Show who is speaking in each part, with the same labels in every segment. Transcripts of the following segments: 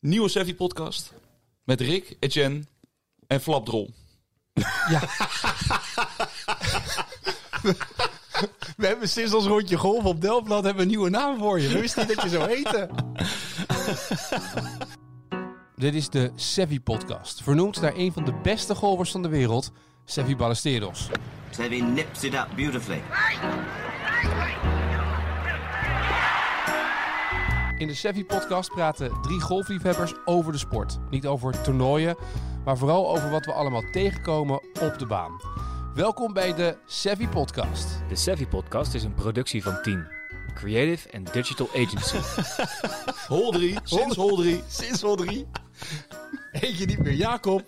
Speaker 1: nieuwe Savvy podcast met Rick, Etienne en Flapdrol.
Speaker 2: We hebben sinds ons rondje golf op Delftland hebben we een nieuwe naam voor je. We wisten niet dat je zou heten. Dit is de Sevi Podcast, vernoemd naar een van de beste golfers van de wereld, Sevi Ballesteros.
Speaker 3: Seve nips it up beautifully.
Speaker 2: In de Sevi Podcast praten drie golfliefhebbers over de sport. Niet over toernooien, maar vooral over wat we allemaal tegenkomen op de baan. Welkom bij de Sevi Podcast.
Speaker 4: De Savvy Podcast is een productie van Team Creative and Digital Agency.
Speaker 1: Hol 3, sinds hol 3.
Speaker 2: Sinds al drie. Eet je niet meer Jacob,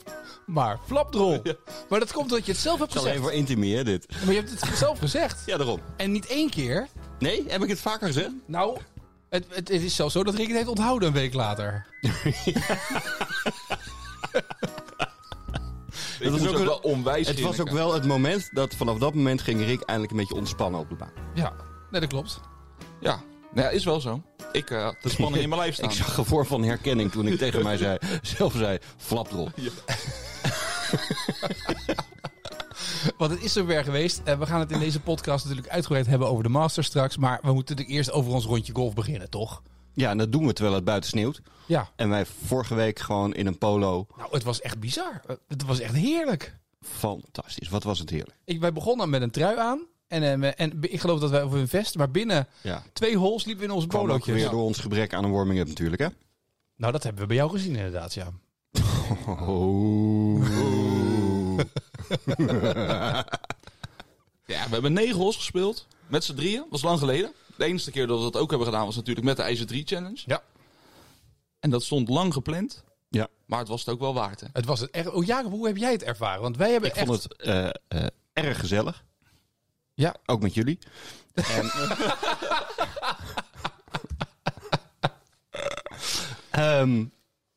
Speaker 2: maar Flapdrol. Maar dat komt omdat je het zelf hebt gezegd.
Speaker 5: Alleen voor intimie, hè, dit.
Speaker 2: Maar je hebt het zelf gezegd.
Speaker 5: Ja, daarom.
Speaker 2: En niet één keer.
Speaker 5: Nee, heb ik het vaker gezegd?
Speaker 2: Nou, het, het, het is zelfs zo dat Rick het heeft onthouden een week later.
Speaker 1: Dat is ook wel onwijs
Speaker 5: Het was ook
Speaker 1: grinniken.
Speaker 5: wel het moment dat vanaf dat moment ging Rick eindelijk een beetje ontspannen op de baan.
Speaker 2: Ja, nee, dat klopt.
Speaker 1: Ja, nou ja, is wel zo. Ik eh, had de spanning in mijn lijf staan.
Speaker 5: Ik zag gevoel van herkenning toen ik tegen mij zei, zelf zei, flapdrol.
Speaker 2: Want het is er weer geweest. En we gaan het in deze podcast natuurlijk uitgebreid hebben over de Masters straks. Maar we moeten natuurlijk eerst over ons rondje golf beginnen, toch?
Speaker 5: Ja, en dat doen we terwijl het buiten sneeuwt.
Speaker 2: Ja.
Speaker 5: En wij vorige week gewoon in een polo.
Speaker 2: Nou, het was echt bizar. Het was echt heerlijk.
Speaker 5: Fantastisch, wat was het heerlijk.
Speaker 2: Ik, wij begonnen met een trui aan. En, eh, en ik geloof dat wij over een vest. Maar binnen
Speaker 5: Ja.
Speaker 2: twee holes liepen we in onze
Speaker 5: Kwam ook
Speaker 2: polootjes.
Speaker 5: weer door ons gebrek aan een warming-up natuurlijk, hè?
Speaker 2: Nou, dat hebben we bij jou gezien inderdaad, ja.
Speaker 5: Oh.
Speaker 1: Ja, we hebben negen holes gespeeld. Met z'n drieën. Dat was lang geleden. De enige keer dat we dat ook hebben gedaan was natuurlijk met de IJzer 3 Challenge.
Speaker 2: Ja.
Speaker 1: En dat stond lang gepland.
Speaker 5: Ja,
Speaker 1: Maar het was het ook wel waard. Hè?
Speaker 2: Het was het echt. Oh, Jacob, hoe heb jij het ervaren? Want wij hebben
Speaker 5: ik
Speaker 2: echt.
Speaker 5: vond het eh, eh, erg gezellig.
Speaker 2: Ja.
Speaker 5: Ook met jullie. Ehm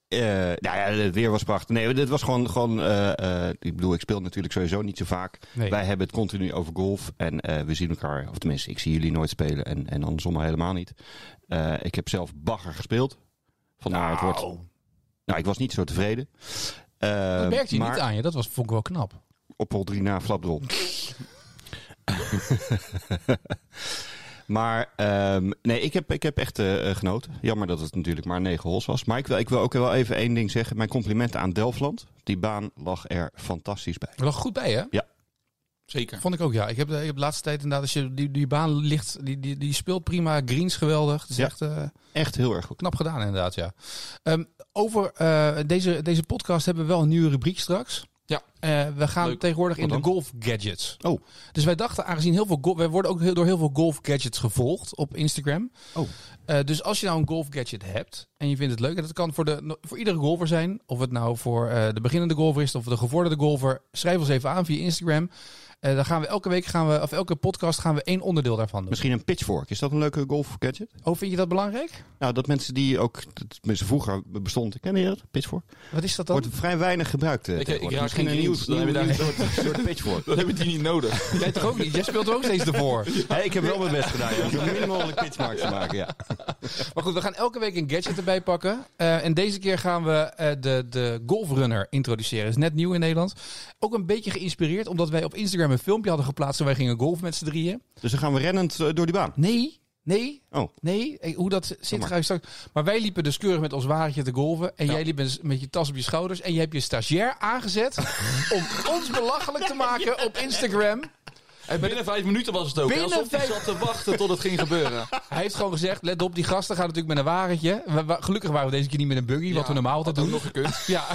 Speaker 5: eh, nou ja, het weer was prachtig. Nee, dit was gewoon... gewoon eh, eh, ik bedoel, ik speel natuurlijk sowieso niet zo vaak.
Speaker 2: Nee.
Speaker 5: Wij hebben het continu over golf. En eh, we zien elkaar... Of tenminste, ik zie jullie nooit spelen. En, en andersom helemaal niet. Eh, ik heb zelf bagger gespeeld. Vandaar het woord. Nou, ik was niet zo tevreden. Eh,
Speaker 2: Dat merkte je
Speaker 5: maar-
Speaker 2: niet aan je. Dat was, vond ik wel knap.
Speaker 5: op hol 3 na flapdrol. maar ehm, nee, ik heb, ik heb echt eh, eh, genoten. Jammer dat het natuurlijk maar negen hols was. Maar ik wil, ik wil ook wel even één ding zeggen. Mijn complimenten aan Delftland. Die baan lag er fantastisch bij.
Speaker 2: Er lag goed bij, hè?
Speaker 5: Ja,
Speaker 1: Zeker.
Speaker 2: Vond ik ook, ja. Ik heb, ik heb de laatste tijd inderdaad, als je die, die baan ligt, die, die, die speelt prima. Greens geweldig. Het is
Speaker 5: Ja.
Speaker 2: echt eh,
Speaker 5: echt heel erg goed.
Speaker 2: knap gedaan, inderdaad, ja. Ehm, over eh, deze, deze podcast hebben we wel een nieuwe rubriek straks.
Speaker 1: Ja.
Speaker 2: Eh, we gaan
Speaker 1: Leuk.
Speaker 2: tegenwoordig in
Speaker 5: Wat
Speaker 2: de golf gadgets.
Speaker 5: Oh,
Speaker 2: Dus wij dachten, aangezien heel veel golf, wij worden ook heel, door heel veel golf gadgets gevolgd op Instagram.
Speaker 5: Oh.
Speaker 2: Eh, dus als je nou een golf gadget hebt en je vindt het leuk, en dat kan voor, de, voor iedere golfer zijn, of het nou voor eh, de beginnende golfer is of de gevorderde golfer, schrijf ons even aan via Instagram. Eh, dan gaan we elke week gaan we, of elke podcast gaan we één onderdeel daarvan doen.
Speaker 5: misschien een pitchfork. Is dat een leuke golf gadget?
Speaker 2: Oh, vind je dat belangrijk?
Speaker 5: Nou, dat mensen die ook, dat mensen vroeger bestond, ken je dat? Pitchfork?
Speaker 2: Wat is dat dan?
Speaker 5: Wordt vrij weinig gebruikt. eh,
Speaker 1: ik
Speaker 5: tegenwoordig.
Speaker 1: raak
Speaker 5: misschien
Speaker 1: geen
Speaker 5: een nieuw,
Speaker 1: greens, dan
Speaker 5: nieuw,
Speaker 1: heb je daar-
Speaker 5: nieuw soort, soort pitchfork.
Speaker 1: Dat hebben die niet nodig.
Speaker 2: Jij toch ook niet? Jij speelt er ook steeds ervoor.
Speaker 5: Hey, ik heb wel mijn best gedaan. Ja. Om zo min mogelijk pitchmarks te maken, ja.
Speaker 2: Maar goed, we gaan elke week een gadget erbij pakken. Eh, en deze keer gaan we eh, de, de Golfrunner introduceren. Is net nieuw in Nederland. Ook een beetje geïnspireerd, omdat wij op Instagram een filmpje hadden geplaatst. En wij gingen golf met z'n drieën.
Speaker 5: Dus dan gaan we rennend eh, door die baan.
Speaker 2: Nee, nee,
Speaker 5: Oh,
Speaker 2: nee. Eh, Hoe dat zit,
Speaker 5: maar.
Speaker 2: ga ik straks. Maar wij liepen dus keurig met ons wagentje te golven. En jij liep met- met je tas op je schouders. En je hebt je stagiair aangezet om ons belachelijk te maken op Instagram.
Speaker 1: En binnen vijf minuten was het ook.
Speaker 2: Binnen
Speaker 1: alsof hij
Speaker 2: vijf-
Speaker 1: zat te wachten tot het ging gebeuren.
Speaker 2: Hij heeft gewoon gezegd, let op, die gasten gaan natuurlijk met een wagentje. We- we- gelukkig waren we deze keer niet met een buggy, wat we normaal altijd
Speaker 1: Had ook
Speaker 2: doen.
Speaker 1: nog gekund.
Speaker 2: Ja.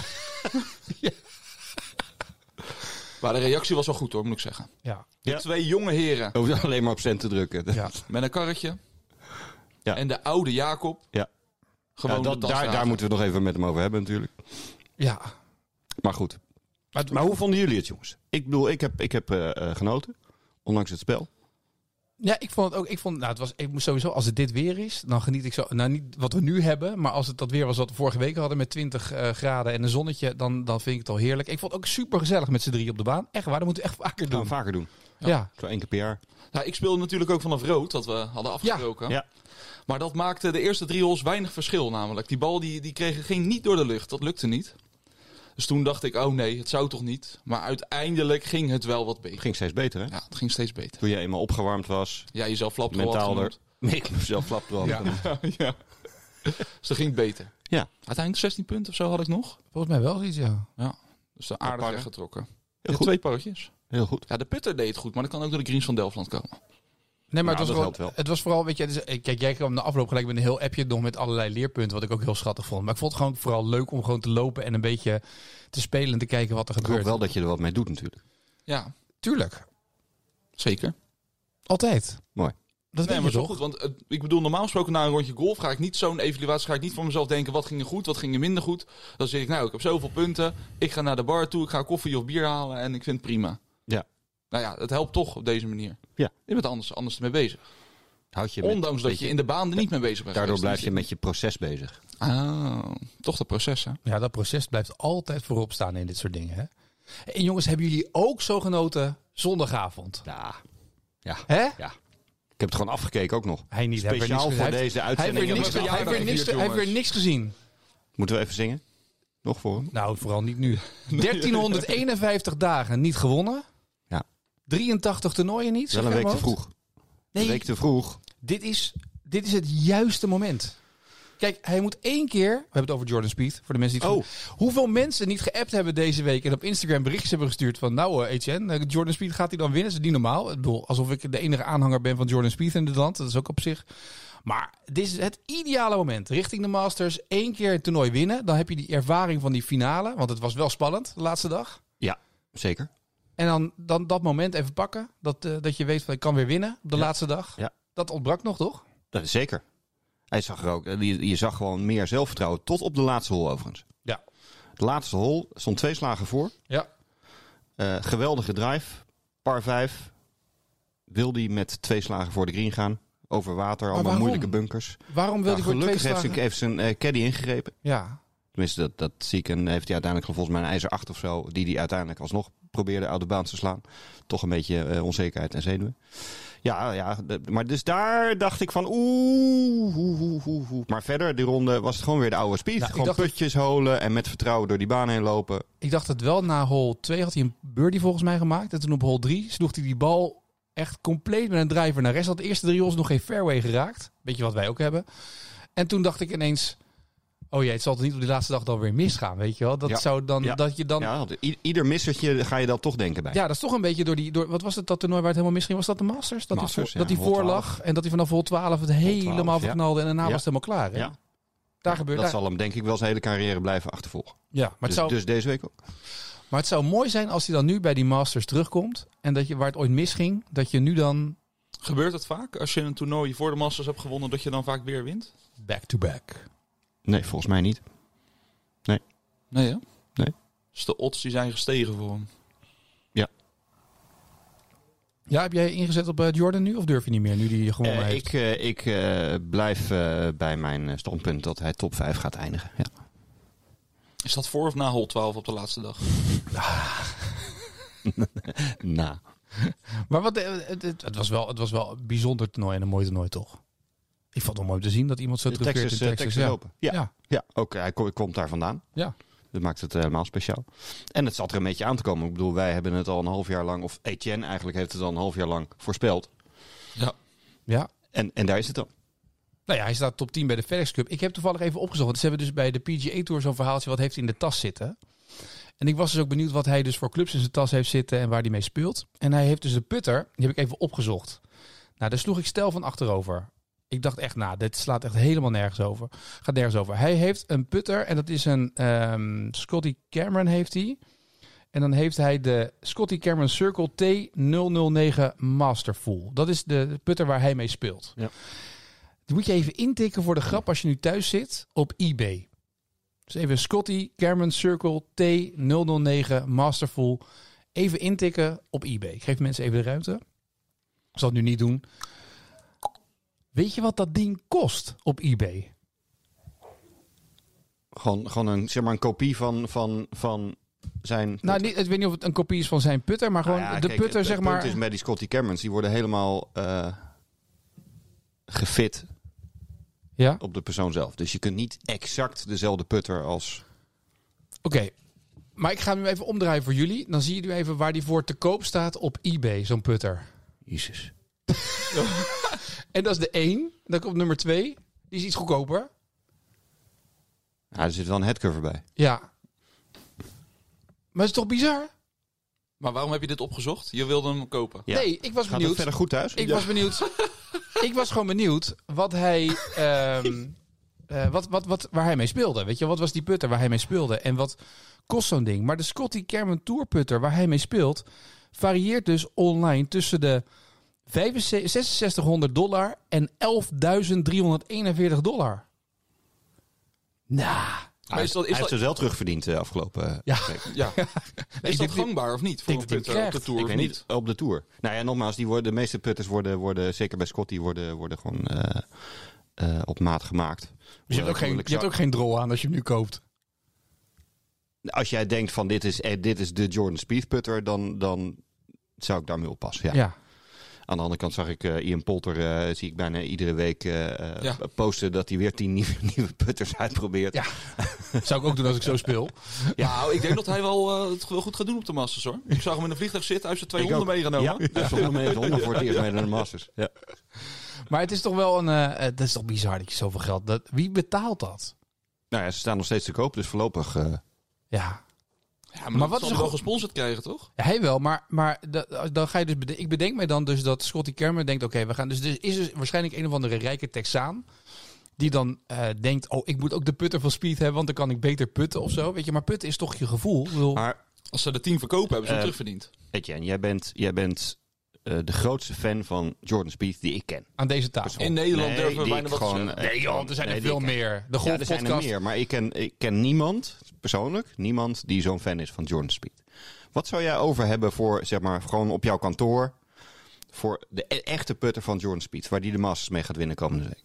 Speaker 1: Maar de reactie was wel goed hoor, moet ik zeggen.
Speaker 2: ja.
Speaker 5: Ja.
Speaker 1: Twee jonge heren
Speaker 5: hoef je alleen maar op cent te drukken.
Speaker 2: Ja.
Speaker 1: met een karretje.
Speaker 5: Ja.
Speaker 1: En de oude Jacob.
Speaker 5: Ja.
Speaker 1: Gewoon
Speaker 5: Ja,
Speaker 1: de
Speaker 5: dat,
Speaker 1: tas
Speaker 5: daar,
Speaker 1: dragen.
Speaker 5: daar moeten we het nog even met hem over hebben natuurlijk.
Speaker 2: Ja.
Speaker 5: Maar goed.
Speaker 2: Maar,
Speaker 5: Maar hoe vonden jullie het, jongens? Ik bedoel, ik heb, ik heb eh, eh, genoten. Ondanks het spel.
Speaker 2: ja, ik vond het ook. Ik vond, nou, het was, ik moest sowieso, als het dit weer is, dan geniet ik zo. Nou, niet wat we nu hebben, maar als het dat weer was wat we vorige week hadden met 20 eh, graden en een zonnetje, dan, dan vind ik het al heerlijk. Ik vond het ook super gezellig met z'n drie op de baan. Echt waar, dat moeten we echt vaker
Speaker 5: Gaan
Speaker 2: doen.
Speaker 5: we vaker doen.
Speaker 2: Ja. Ja.
Speaker 5: Zo één keer per jaar.
Speaker 1: Nou, ik speelde natuurlijk ook vanaf rood, dat we hadden afgesproken.
Speaker 5: Ja.
Speaker 1: Maar dat maakte de eerste drie holes weinig verschil namelijk. Die bal die, die kreeg, ging niet door de lucht, dat lukte niet. Dus toen dacht ik, oh nee, het zou toch niet. Maar uiteindelijk ging het wel wat beter.
Speaker 5: Ging steeds beter, hè?
Speaker 1: Ja, het ging steeds beter.
Speaker 5: Toen je eenmaal opgewarmd was,
Speaker 1: Ja, jezelf flapte wel
Speaker 5: mentaal er...
Speaker 1: wat
Speaker 5: Ik mezelf flap wel. Ja.
Speaker 1: genoemd. ja. Dus dat ging beter.
Speaker 5: Ja.
Speaker 1: Uiteindelijk 16 punten of zo had ik nog.
Speaker 2: Volgens mij wel zoiets, ja.
Speaker 1: Dus de aardig
Speaker 5: parren.
Speaker 1: weggetrokken.
Speaker 5: Heel
Speaker 1: Ja,
Speaker 5: goed.
Speaker 1: twee parretjes.
Speaker 5: Heel goed.
Speaker 1: Ja, de putter deed het goed, maar dat kan ook door de greens van Delftland komen.
Speaker 2: Nee, maar
Speaker 5: Ja,
Speaker 2: het, was
Speaker 5: dat
Speaker 2: vooral,
Speaker 5: helpt wel.
Speaker 2: het was vooral, weet je, het is- eh, kijk, jij kwam na afloop gelijk met een heel appje nog met allerlei leerpunten, wat ik ook heel schattig vond. Maar ik vond het gewoon vooral leuk om gewoon te lopen en een beetje te spelen en te kijken wat er
Speaker 5: Ik hoop
Speaker 2: gebeurt.
Speaker 5: wel dat je er wat mee doet natuurlijk.
Speaker 1: Ja,
Speaker 2: Tuurlijk,
Speaker 1: zeker.
Speaker 2: altijd.
Speaker 5: Mooi.
Speaker 2: Dat
Speaker 1: Nee, maar
Speaker 2: weet je
Speaker 1: zo
Speaker 2: toch?
Speaker 1: goed. Want eh, ik bedoel, normaal gesproken na een rondje golf ga ik niet zo'n evaluatie. Ga ik niet voor mezelf denken wat ging er goed, wat ging er minder goed. Dan zeg ik, nou, ik heb zoveel punten. Ik ga naar de bar toe, ik ga koffie of bier halen en ik vind het prima.
Speaker 5: Ja.
Speaker 1: Nou ja, het helpt toch op deze manier.
Speaker 5: Ja.
Speaker 1: Je bent anders, anders ermee bezig.
Speaker 5: Houd je met-
Speaker 1: Ondanks dat
Speaker 5: weet
Speaker 1: je in de baan er niet mee bezig bent.
Speaker 5: Daardoor blijf
Speaker 1: geweest.
Speaker 5: je met je proces bezig.
Speaker 1: Ah, toch dat proces, hè?
Speaker 2: Ja, dat proces blijft altijd voorop staan in dit soort dingen. Hè? En jongens, hebben jullie ook zo genoten zondagavond?
Speaker 5: Ja.
Speaker 2: Hè?
Speaker 5: Ik heb het gewoon afgekeken ook nog.
Speaker 2: Hij niet. Hij heeft weer
Speaker 5: Speciaal
Speaker 2: niks
Speaker 5: voor
Speaker 2: gezien.
Speaker 5: deze
Speaker 2: Hij heeft weer
Speaker 5: uitzending.
Speaker 2: niks gezien.
Speaker 5: hebben
Speaker 2: Hij heeft weer niks- hij heeft weer niks gezien.
Speaker 5: we- Moeten we even zingen? Nog voor hem?
Speaker 2: Nou, vooral niet nu. 1351 dagen niet gewonnen.
Speaker 5: Ja.
Speaker 2: 83 toernooien niet. zeg
Speaker 5: Wel een
Speaker 2: jij
Speaker 5: week te
Speaker 2: maar wat?
Speaker 5: vroeg. Een
Speaker 2: Nee,
Speaker 5: week te vroeg.
Speaker 2: dit is, dit is het juiste moment. Kijk, hij moet één keer. We hebben het over Jordan Speed. Voor de mensen die het
Speaker 5: Oh.
Speaker 2: van- Hoeveel mensen niet geappt hebben deze week. en op Instagram berichtjes hebben gestuurd. van. Nou, eh, HN, eh, Jordan Speed gaat hij dan winnen? Dat is niet normaal. Ik bedoel, alsof ik de enige aanhanger ben van Jordan Speed in dit land. Dat is ook op zich. Maar dit is het ideale moment. Richting de Masters. één keer het toernooi winnen. Dan heb je die ervaring van die finale. Want het was wel spannend de laatste dag.
Speaker 5: Ja, zeker.
Speaker 2: En dan, dan dat moment even pakken. Dat, eh, dat je weet van ik kan weer winnen op de
Speaker 5: Ja.
Speaker 2: laatste dag.
Speaker 5: Ja.
Speaker 2: Dat ontbrak nog, toch?
Speaker 5: Dat is zeker. Hij zag er ook, je, je zag gewoon meer zelfvertrouwen. Tot op de laatste hol overigens.
Speaker 2: Ja.
Speaker 5: De laatste hol stond twee slagen voor.
Speaker 2: Ja.
Speaker 5: Eh, geweldige drive. Par 5. Wilde hij met twee slagen voor de green gaan. Over water, allemaal
Speaker 2: waarom?
Speaker 5: moeilijke bunkers.
Speaker 2: Waarom wil
Speaker 5: Ja,
Speaker 2: hij voor twee
Speaker 5: gelukkig heeft
Speaker 2: slagen?
Speaker 5: zijn, heeft zijn eh, caddy ingegrepen.
Speaker 2: Ja.
Speaker 5: Tenminste, dat, dat zie ik. En heeft hij uiteindelijk volgens mij een ijzer 8 of zo. Die hij uiteindelijk alsnog probeerde uit de baan te slaan. Toch een beetje eh, onzekerheid en zenuwen. Ja, ja. de- maar dus daar dacht ik van oeh, oeh, oeh, oeh, oeh. Maar verder, die ronde was het gewoon weer de oude speed.
Speaker 2: Nou, ik
Speaker 5: gewoon
Speaker 2: dacht-
Speaker 5: putjes holen en met vertrouwen door die baan heen lopen.
Speaker 2: Ik dacht het wel. Na hole 2 had hij een birdie volgens mij gemaakt. En toen op hole 3 sloeg hij die bal echt compleet met een driver naar rechts. Had de eerste drie holes nog geen fairway geraakt. Beetje wat wij ook hebben. En toen dacht ik ineens... Oh jee, het zal toch niet op die laatste dag dan weer misgaan, weet je wel? Dat
Speaker 5: Ja.
Speaker 2: zou dan...
Speaker 5: Ja.
Speaker 2: Dat je dan ja.
Speaker 5: Ja, want i- ieder missertje ga je dan toch denken bij.
Speaker 2: dat is toch een beetje door die... Door, wat was het, dat toernooi waar het helemaal misging? Was dat de Masters? Dat
Speaker 5: Masters, ja,
Speaker 2: hij, voor, dat hij
Speaker 5: hole
Speaker 2: voor
Speaker 5: 12.
Speaker 2: lag en dat hij vanaf hol 12 het helemaal
Speaker 5: 12, ja.
Speaker 2: verknalde. En daarna
Speaker 5: Ja.
Speaker 2: was het helemaal klaar, hè?
Speaker 5: Ja.
Speaker 2: Daar gebeurt...
Speaker 5: dat
Speaker 2: daar-
Speaker 5: zal hem denk ik wel zijn hele carrière blijven achtervolgen.
Speaker 2: Ja, maar het
Speaker 5: Dus,
Speaker 2: zou...
Speaker 5: dus deze week ook.
Speaker 2: Maar het zou mooi zijn als hij dan nu bij die Masters terugkomt. En dat je waar het ooit misging, dat je nu dan
Speaker 1: Gebeurt het vaak als je een toernooi voor de Masters hebt gewonnen, dat je dan vaak weer wint?
Speaker 2: back-to-back.
Speaker 5: Nee, volgens mij niet.
Speaker 1: Nee, hè?
Speaker 5: Nee.
Speaker 1: Dus de odds die zijn gestegen voor hem.
Speaker 2: Ja, heb jij ingezet op eh, Jordan nu of durf je niet meer nu die gewonnen
Speaker 5: Eh,
Speaker 2: heeft?
Speaker 5: ik eh, ik eh, blijf eh, bij mijn eh, standpunt dat hij top 5 gaat eindigen. Ja.
Speaker 1: Is dat voor of na hol 12 op de laatste dag?
Speaker 5: Nou,
Speaker 2: Maar wat, eh, het, het- het was wel, het was wel een bijzonder toernooi en een mooi toernooi toch? Ik vond het mooi om te zien dat iemand zo
Speaker 5: de
Speaker 2: terugkeert
Speaker 5: Texas,
Speaker 2: in
Speaker 5: eh,
Speaker 2: Texas.
Speaker 5: Texas
Speaker 2: ja.
Speaker 5: Open. Ja, ja.
Speaker 2: Ja.
Speaker 5: ook eh, hij ko- komt daar vandaan.
Speaker 2: Ja.
Speaker 5: Dat maakt het eh, helemaal speciaal. En het zat er een beetje aan te komen. Ik bedoel, wij hebben het al een half jaar lang, of Etienne eigenlijk heeft het al een half jaar lang voorspeld.
Speaker 2: ja.
Speaker 5: En, en daar is het dan.
Speaker 2: Nou ja, hij staat top 10 bij de FedEx Cup. Ik heb toevallig even opgezocht. Want ze hebben dus bij de PGA Tour zo'n verhaaltje. Wat heeft hij in de tas zitten? En ik was dus ook benieuwd wat hij dus voor clubs in zijn tas heeft zitten. En waar hij mee speelt. En hij heeft dus de putter. Die heb ik even opgezocht. Nou, daar sloeg ik stel van achterover. Ik dacht echt, nou, dit slaat echt helemaal nergens over. Gaat nergens over. Hij heeft een putter. En dat is een ehm, Scotty Cameron heeft hij. En dan heeft hij de Scotty Cameron Circle T009 Masterful. Dat is de putter waar hij mee speelt. Die moet je even intikken voor de grap als je nu thuis zit op eBay. Dus even Scotty Cameron Circle T009 Masterful. Even intikken op eBay. Ik geef mensen even de ruimte. Ik zal het nu niet doen. Weet je wat dat ding kost op eBay?
Speaker 5: Gewoon, gewoon een, zeg maar een kopie van, van, van zijn.
Speaker 2: Nou, niet, ik weet niet of het een kopie is van zijn putter, maar gewoon
Speaker 5: Nou ja,
Speaker 2: de
Speaker 5: kijk,
Speaker 2: putter,
Speaker 5: het-
Speaker 2: zeg
Speaker 5: het
Speaker 2: maar.
Speaker 5: punt is met die Scotty Camerons, die worden helemaal eh, gefit
Speaker 2: Ja, oké.
Speaker 5: op de persoon zelf. Dus je kunt niet exact dezelfde putter als...
Speaker 2: Maar ik ga hem nu even omdraaien voor jullie. Dan zie je nu even waar die voor te koop staat op eBay, zo'n putter.
Speaker 5: Jezus.
Speaker 2: En dat is de 1. Dan komt nummer 2. Die is iets goedkoper.
Speaker 5: Ja, er zit wel een headcover bij.
Speaker 2: Ja. Maar het is toch bizar?
Speaker 1: Maar waarom heb je dit opgezocht? Je wilde hem kopen.
Speaker 5: Ja.
Speaker 2: Nee, ik was
Speaker 5: Gaat het
Speaker 2: benieuwd.
Speaker 5: verder goed thuis?
Speaker 2: Ik was benieuwd. ik was gewoon benieuwd wat hij. ehm, eh, wat, wat, wat, waar hij mee speelde. Weet je, wat was die putter waar hij mee speelde? En wat kost zo'n ding? Maar de Scotty Cameron Tour putter waar hij mee speelt. varieert dus online tussen de 65 6600 dollar en 11.341 dollar. Nou,
Speaker 5: Hij,
Speaker 1: is dat- is
Speaker 5: hij
Speaker 1: dat-
Speaker 5: heeft ze wel terugverdiend de afgelopen... eh,
Speaker 2: Ja.
Speaker 5: week.
Speaker 1: Ja. Is dat
Speaker 2: denk-
Speaker 1: gangbaar of niet? Voor
Speaker 2: denk
Speaker 1: een
Speaker 2: dat hij
Speaker 1: putter op de
Speaker 2: krijgt.
Speaker 1: Tour
Speaker 5: Ik
Speaker 1: of
Speaker 5: weet
Speaker 1: niet?
Speaker 5: niet, op de Tour. Nou ja, nogmaals, die worden, de meeste putters worden, worden, zeker bij Scotty, worden, worden gewoon eh, eh, op maat gemaakt.
Speaker 2: je hebt, ook geen, je hebt ook geen drol aan als je hem nu koopt.
Speaker 5: Als jij denkt van dit is, eh, dit is de Jordan Spieth putter, dan, dan zou ik daarmee oppassen. Ja. Aan de andere kant zag ik eh, Ian Polter, eh, zie ik bijna iedere week eh, eh,
Speaker 1: Ja.
Speaker 5: posten dat hij weer tien nieuwe, nieuwe putters uitprobeert.
Speaker 2: Ja. Zou ik ook doen als ik zo speel.
Speaker 1: Nou, ik denk dat hij wel eh, het wel goed gaat doen op de Masters hoor. Ik zag hem in een vliegtuig zitten, hij heeft zijn
Speaker 5: Ik
Speaker 1: twee honden
Speaker 5: ook.
Speaker 1: meegenomen.
Speaker 5: Ja, hij is volgens mij met honden voor het eerst mee naar de Masters. Ja.
Speaker 2: Maar het is toch wel een. eh, eh, dat is toch bizar dat je zoveel geld. Dat, wie betaalt dat?
Speaker 5: Nou ja, ze staan nog steeds te koop, dus voorlopig... eh,
Speaker 2: Ja.
Speaker 1: Ja, maar,
Speaker 2: wat
Speaker 1: wat
Speaker 2: is
Speaker 1: is
Speaker 2: er
Speaker 1: er wel
Speaker 2: goed-
Speaker 1: gesponsord krijgen, toch?
Speaker 2: Ja, Hij wel, maar, maar da- dan ga je dus bede- ik bedenk mij dan dus dat Scotty Cameron denkt: oké, we gaan. Dus er is dus waarschijnlijk een of andere rijke Texaan. Die dan eh, denkt: oh, ik moet ook de putter van Speed hebben, want dan kan ik beter putten of zo. Weet je, maar putten is toch je gevoel. Ik bedoel,
Speaker 5: maar
Speaker 1: Als ze de tien verkopen, hebben ze hem
Speaker 5: Eh,
Speaker 1: terugverdiend.
Speaker 5: Etienne, jij bent, jij bent eh, de grootste fan van Jordan Spieth die ik ken.
Speaker 2: aan deze tafel.
Speaker 1: In Nederland
Speaker 5: Nee,
Speaker 1: durven we
Speaker 5: die
Speaker 1: bijna
Speaker 5: ik
Speaker 1: wat te
Speaker 5: gewoon,
Speaker 1: zeggen.
Speaker 5: eh,
Speaker 2: Nee, joh, er zijn
Speaker 5: nee,
Speaker 2: er
Speaker 5: die
Speaker 2: veel
Speaker 5: ik ken.
Speaker 2: meer. De
Speaker 5: Ja, er zijn er
Speaker 2: golfpodcast.
Speaker 5: meer, maar ik ken, ik ken niemand, persoonlijk, niemand die zo'n fan is van Jordan Speed. Wat zou jij over hebben voor, zeg maar, gewoon op jouw kantoor, voor de e- echte putter van Jordan Speed, waar die de Masters mee gaat winnen komende week?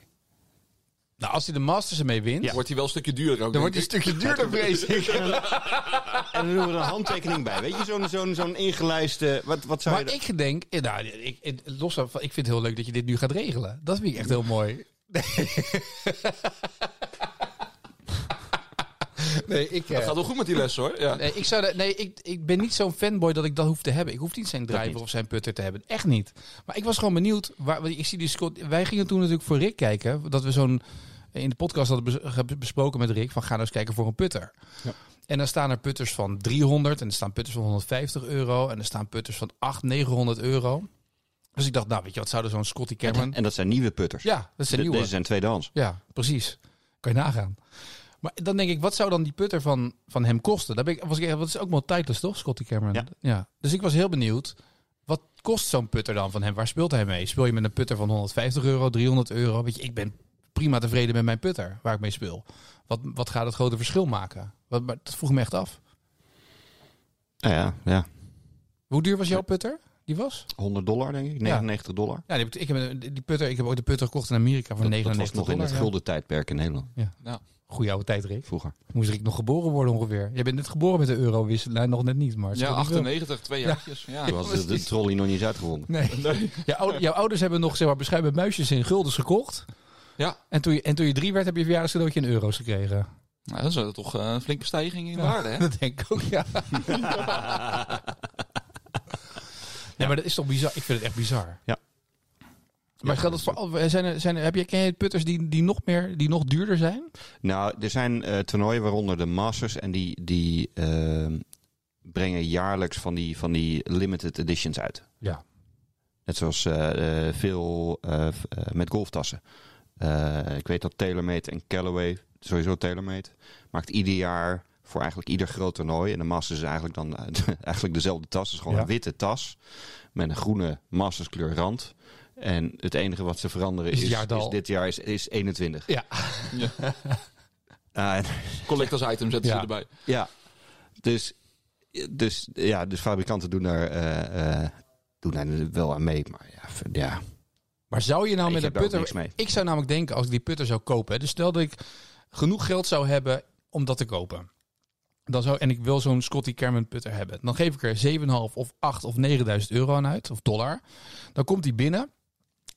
Speaker 2: nou, als hij de Masters ermee wint,
Speaker 5: Ja.
Speaker 1: Wordt hij wel een stukje duurder ook.
Speaker 2: dan
Speaker 1: denk
Speaker 2: wordt hij een stukje duurder, vrees ik.
Speaker 5: En dan doen we er een handtekening bij, weet je, zo'n zo'n zo'n ingelijste, wat, wat zou je...
Speaker 2: Maar ik denk, eh, nou, ik, ik- los daarvan, ik vind het heel leuk dat je dit nu gaat regelen. Dat vind ik echt heel mooi. Nee, nee ik, eh,
Speaker 1: Het gaat wel goed met die les hoor. Ja.
Speaker 2: nee, ik, zou, dat- nee ik, ik ben niet zo'n fanboy dat ik dat hoef te hebben. Ik hoef niet zijn driver
Speaker 5: niet.
Speaker 2: of zijn putter te hebben. Echt niet. Maar ik was gewoon benieuwd. Waar, want ik zie die Scott, wij gingen toen natuurlijk voor Rick kijken. Dat we zo'n in de podcast hadden bes- ge- besproken met Rick. Van ga nou eens kijken voor een putter. En dan staan er putters van 300. En er staan putters van 150 euro. En er staan putters van 800, 900 euro. Dus ik dacht, nou weet je, wat zou er zo'n Scotty Cameron...
Speaker 5: En dat zijn nieuwe putters.
Speaker 2: Ja, dat is een
Speaker 5: De-
Speaker 2: nieuwe.
Speaker 5: Deze zijn tweedehands.
Speaker 2: Ja, precies. Kan je nagaan. Maar dan denk ik, wat zou dan die putter van, van hem kosten? Daar ben ik, was ik, dat is ook wel tijdless, toch, Scotty Cameron?
Speaker 5: Ja.
Speaker 2: Dus ik was heel benieuwd, wat kost zo'n putter dan van hem? Waar speelt hij mee? Speel je met een putter van 150 euro, 300 euro? Weet je, ik ben prima tevreden met mijn putter waar ik mee speel. Wat, wat gaat het grote verschil maken? Wat, maar dat vroeg me echt af.
Speaker 5: Nou ja, ja.
Speaker 2: Hoe duur was jouw putter? Die was?
Speaker 5: 100 dollar denk ik, 99 dollar.
Speaker 2: Ja, die, heb ik- ik, heb, een- die putter, ik heb ook de putter gekocht in Amerika voor
Speaker 5: Dat, dat
Speaker 2: 99
Speaker 5: was nog in het
Speaker 2: dollar, ja.
Speaker 5: gulden tijdperk in Nederland,
Speaker 2: Goeie oude tijd, Rick.
Speaker 5: vroeger.
Speaker 2: Moest ik nog geboren worden ongeveer? Jij bent net geboren met de eurowissel. Nou, nog net niet, maar... het
Speaker 1: Ja,
Speaker 2: scheelt niet
Speaker 1: 98, twee jaartjes. Ja.
Speaker 5: Toen was eh, de, de trolley nog niet eens uitgevonden.
Speaker 2: veel. Nee.
Speaker 1: Nee.
Speaker 2: Jouw, ou- jouw ouders hebben nog zeg maar, bescheiden muisjes in guldens gekocht.
Speaker 1: Ja.
Speaker 2: En toen, je, en toen je drie werd, heb je een verjaardagscadeautje in euro's gekregen.
Speaker 1: Nou, dat is wel toch eh, een flinke stijging in waarde hè?
Speaker 2: Dat denk ik ook, ja. Nee, maar dat is toch bizar? Ik vind het echt bizar.
Speaker 5: Ja.
Speaker 2: Maar geldt dat voor... al- Zijn er, zijn er, heb je, ken je putters die, die, nog meer, die nog duurder zijn?
Speaker 5: Nou, er zijn eh, toernooien waaronder de Masters en die, die ehm, brengen jaarlijks van die, van die limited editions uit.
Speaker 2: Ja.
Speaker 5: Net zoals eh, eh, veel eh, f- eh, met golftassen. Eh, ik weet dat TaylorMade en Callaway, sowieso TaylorMade, maakt ieder jaar voor eigenlijk ieder groot toernooi. En de Masters is eigenlijk dan eh, eigenlijk dezelfde tas. Het is gewoon
Speaker 2: Ja.
Speaker 5: een witte tas met een groene Masters kleur rand. En het enige wat ze veranderen
Speaker 2: Is
Speaker 5: is,
Speaker 2: het
Speaker 5: is,
Speaker 2: jaartal.
Speaker 5: dit jaar is, is 21.
Speaker 2: Ja.
Speaker 5: Ah, en
Speaker 1: Collectors item zetten
Speaker 2: Ja.
Speaker 1: ze erbij.
Speaker 5: ja, dus, dus, ja, dus fabrikanten doen daar, eh, eh, doen daar wel aan mee. Maar ja, v- ja.
Speaker 2: Maar zou je nou
Speaker 5: Ik
Speaker 2: met een
Speaker 5: heb daar ook
Speaker 2: putter...
Speaker 5: niks mee.
Speaker 2: Ik zou namelijk denken, als ik die putter zou kopen... hè, Dus stel dat ik genoeg geld zou hebben om dat te kopen. Dan zou, en ik wil zo'n Scotty Cameron putter hebben. Dan geef ik er 7,5 of 8 of 9000 euro aan uit. Of dollar. Dan komt hij binnen.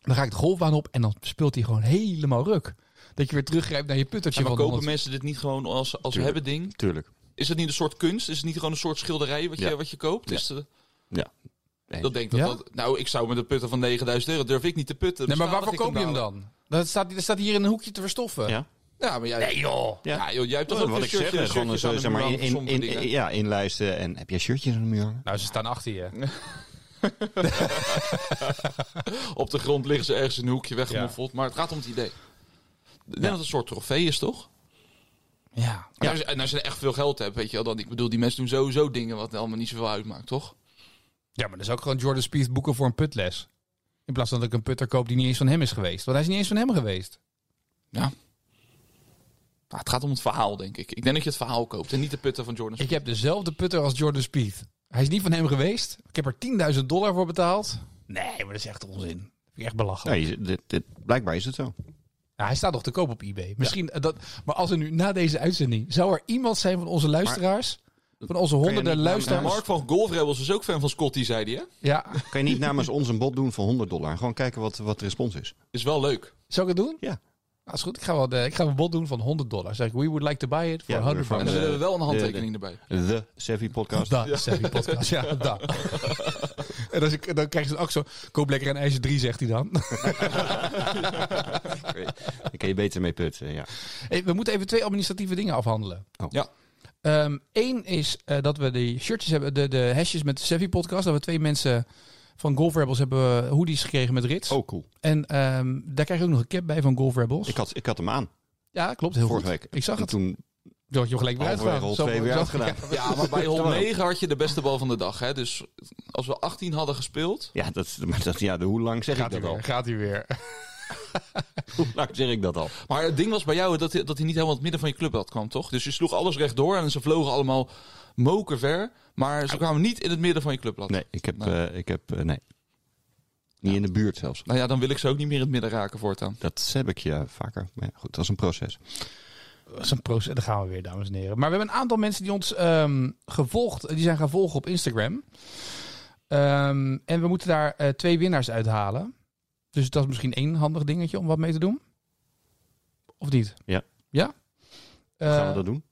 Speaker 2: Dan ga ik de golfbaan op. En dan speelt hij gewoon helemaal ruk. Dat je weer teruggrijpt naar je puttertje.
Speaker 1: maar
Speaker 2: van
Speaker 1: kopen
Speaker 2: 100.
Speaker 1: mensen dit niet gewoon als, als
Speaker 5: Tuurlijk.
Speaker 1: hebben ding?
Speaker 5: Tuurlijk.
Speaker 1: Is het niet een soort kunst? Is het niet gewoon een soort schilderij wat je,
Speaker 5: Ja.
Speaker 1: wat je koopt?
Speaker 5: Ja.
Speaker 1: Is de-
Speaker 5: Ja.
Speaker 1: Dat denk ik.
Speaker 2: Ja?
Speaker 1: Dat, dat- nou, ik zou met een putter van 9000 euro durf ik niet te putten.
Speaker 2: Nee, maar
Speaker 1: Beschadig
Speaker 2: waarvoor
Speaker 1: ik nou
Speaker 2: koop je hem dan? Dat staat, dat staat hier in een hoekje te verstoffen.
Speaker 5: Ja.
Speaker 1: Ja, maar jij, nee, joh. Ja.
Speaker 5: Ja.
Speaker 1: joh, jij hebt toch ook
Speaker 5: wat
Speaker 1: een
Speaker 5: ik zeg,
Speaker 1: shirtje,
Speaker 5: eh, gewoon eh,
Speaker 1: shirtjes
Speaker 5: zo,
Speaker 1: aan de
Speaker 5: zeg
Speaker 1: muur
Speaker 5: maar in,
Speaker 1: hangen,
Speaker 5: in,
Speaker 1: sommige
Speaker 5: in,
Speaker 1: dingen.
Speaker 5: ja, inlijsten. En heb jij shirtjes aan de muur hangen?
Speaker 2: Nou, ze staan achter je.
Speaker 1: Op de grond liggen ze ergens in een hoekje weggemoffeld. Maar het gaat om het idee. Ik denk dat het een soort trofee is, toch?
Speaker 2: Ja.
Speaker 1: En, als, en als je echt veel geld hebt, weet je wel, dan... Ik bedoel, die mensen doen sowieso dingen wat allemaal niet zoveel uitmaakt, toch?
Speaker 2: Ja, maar dan zou ik gewoon Jordan Spieth boeken voor een putles. In plaats van dat ik een putter koop die niet eens van hem is geweest. Want hij is niet eens van hem geweest.
Speaker 1: Ja. Nou, het gaat om het verhaal, denk ik. Ik denk dat je het verhaal koopt en niet de putten van Jordan
Speaker 2: Ik heb dezelfde putter als Jordan Spieth. Hij is niet van hem geweest. Ik heb er 10.000 dollar voor betaald. Nee, maar dat is echt onzin. Dat vind ik echt belachelijk.
Speaker 5: Nou, je- dit, dit- blijkbaar is het zo.
Speaker 2: Ja, hij staat nog te koop op eBay. Misschien eh, dat. Maar als er nu na deze uitzending. zou er iemand zijn van onze luisteraars. van onze honderden
Speaker 5: niet
Speaker 1: Spieth.
Speaker 2: luisteraars.
Speaker 1: Mark van Golf Rebels is ook fan van Scotty, zei hij, hè?
Speaker 2: Ja,
Speaker 5: Kan je niet namens ons een bod doen van 100 dollar? Gewoon kijken wat, wat de respons is.
Speaker 1: Is wel leuk.
Speaker 2: zou ik het doen?
Speaker 5: Ja.
Speaker 2: Nou, is goed. Ik ga, wel, eh, ik ga een bod doen van 100 dollar. Zeg ik, we would like to buy it for
Speaker 5: Ja,
Speaker 2: 100
Speaker 5: voor-
Speaker 1: En
Speaker 2: bucks.
Speaker 1: dan
Speaker 5: de-
Speaker 1: willen we wel een
Speaker 5: de-
Speaker 1: handtekening erbij.
Speaker 5: The Savvy Podcast.
Speaker 2: Da, Savvy Podcast. Ja, da. En als ik, dan krijg je ook zo... Koop lekker een ijsje 3, zegt hij dan.
Speaker 5: Daar kan je beter mee putten, ja.
Speaker 2: Hey, we moeten even twee administratieve dingen afhandelen.
Speaker 5: Oh.
Speaker 1: Ja.
Speaker 2: Eén is eh, dat we die shirtjes hebben, de, de hashjes met de Savvy Podcast. Dat we twee mensen van Golf Rebels hebben eh, hoodies gekregen met Rits.
Speaker 5: Oh, cool.
Speaker 2: En ehm, daar krijg je ook nog een cap bij van Golf Rebels.
Speaker 5: Ik had, ik had hem aan
Speaker 2: ja, klopt. Heel
Speaker 5: vorige
Speaker 2: goed.
Speaker 5: week.
Speaker 2: Ik zag
Speaker 5: En
Speaker 2: het.
Speaker 5: toen
Speaker 2: Dat had je hem gelijk weer
Speaker 5: halverwege
Speaker 2: uitgedaan.
Speaker 5: rol
Speaker 2: Zo-
Speaker 5: twee weer
Speaker 2: zo-
Speaker 5: uitgedaan.
Speaker 1: Ja, maar bij hol
Speaker 5: Terwijl-
Speaker 1: 9 had je de beste bal van de dag. Hè? Dus als we 18 hadden gespeeld.
Speaker 5: Ja, dat, is- maar dat, ja de- hoe lang zeg
Speaker 2: Gaat
Speaker 5: ik
Speaker 2: hij
Speaker 5: dat al?
Speaker 2: weer. Gaat hij weer.
Speaker 5: Hoe lang zeg ik dat al?
Speaker 1: Maar het ding was bij jou dat hij, dat hij niet helemaal het midden van je club kwam, toch? Dus je sloeg alles rechtdoor en ze vlogen allemaal mokerver. Maar ze kwamen niet in het midden van je clubblad.
Speaker 5: Nee, ik heb...
Speaker 1: Nou.
Speaker 5: eh, ik heb eh, nee. Niet in de buurt zelfs.
Speaker 1: Nou ja, dan wil ik ze ook niet meer in het midden raken voortaan.
Speaker 5: Dat heb ik je vaker. Maar ja, goed, dat is een proces.
Speaker 2: Dat is een proces. Daar gaan we weer, dames en heren. Maar we hebben een aantal mensen die ons ehm, gevolgd, die zijn gaan volgen op Instagram. Ehm, en we moeten daar eh, twee winnaars uithalen. Dus dat is misschien één handig dingetje om wat mee te doen. Of niet?
Speaker 5: Ja.
Speaker 2: Ja?
Speaker 5: Gaan
Speaker 2: Eh,
Speaker 5: we dat doen?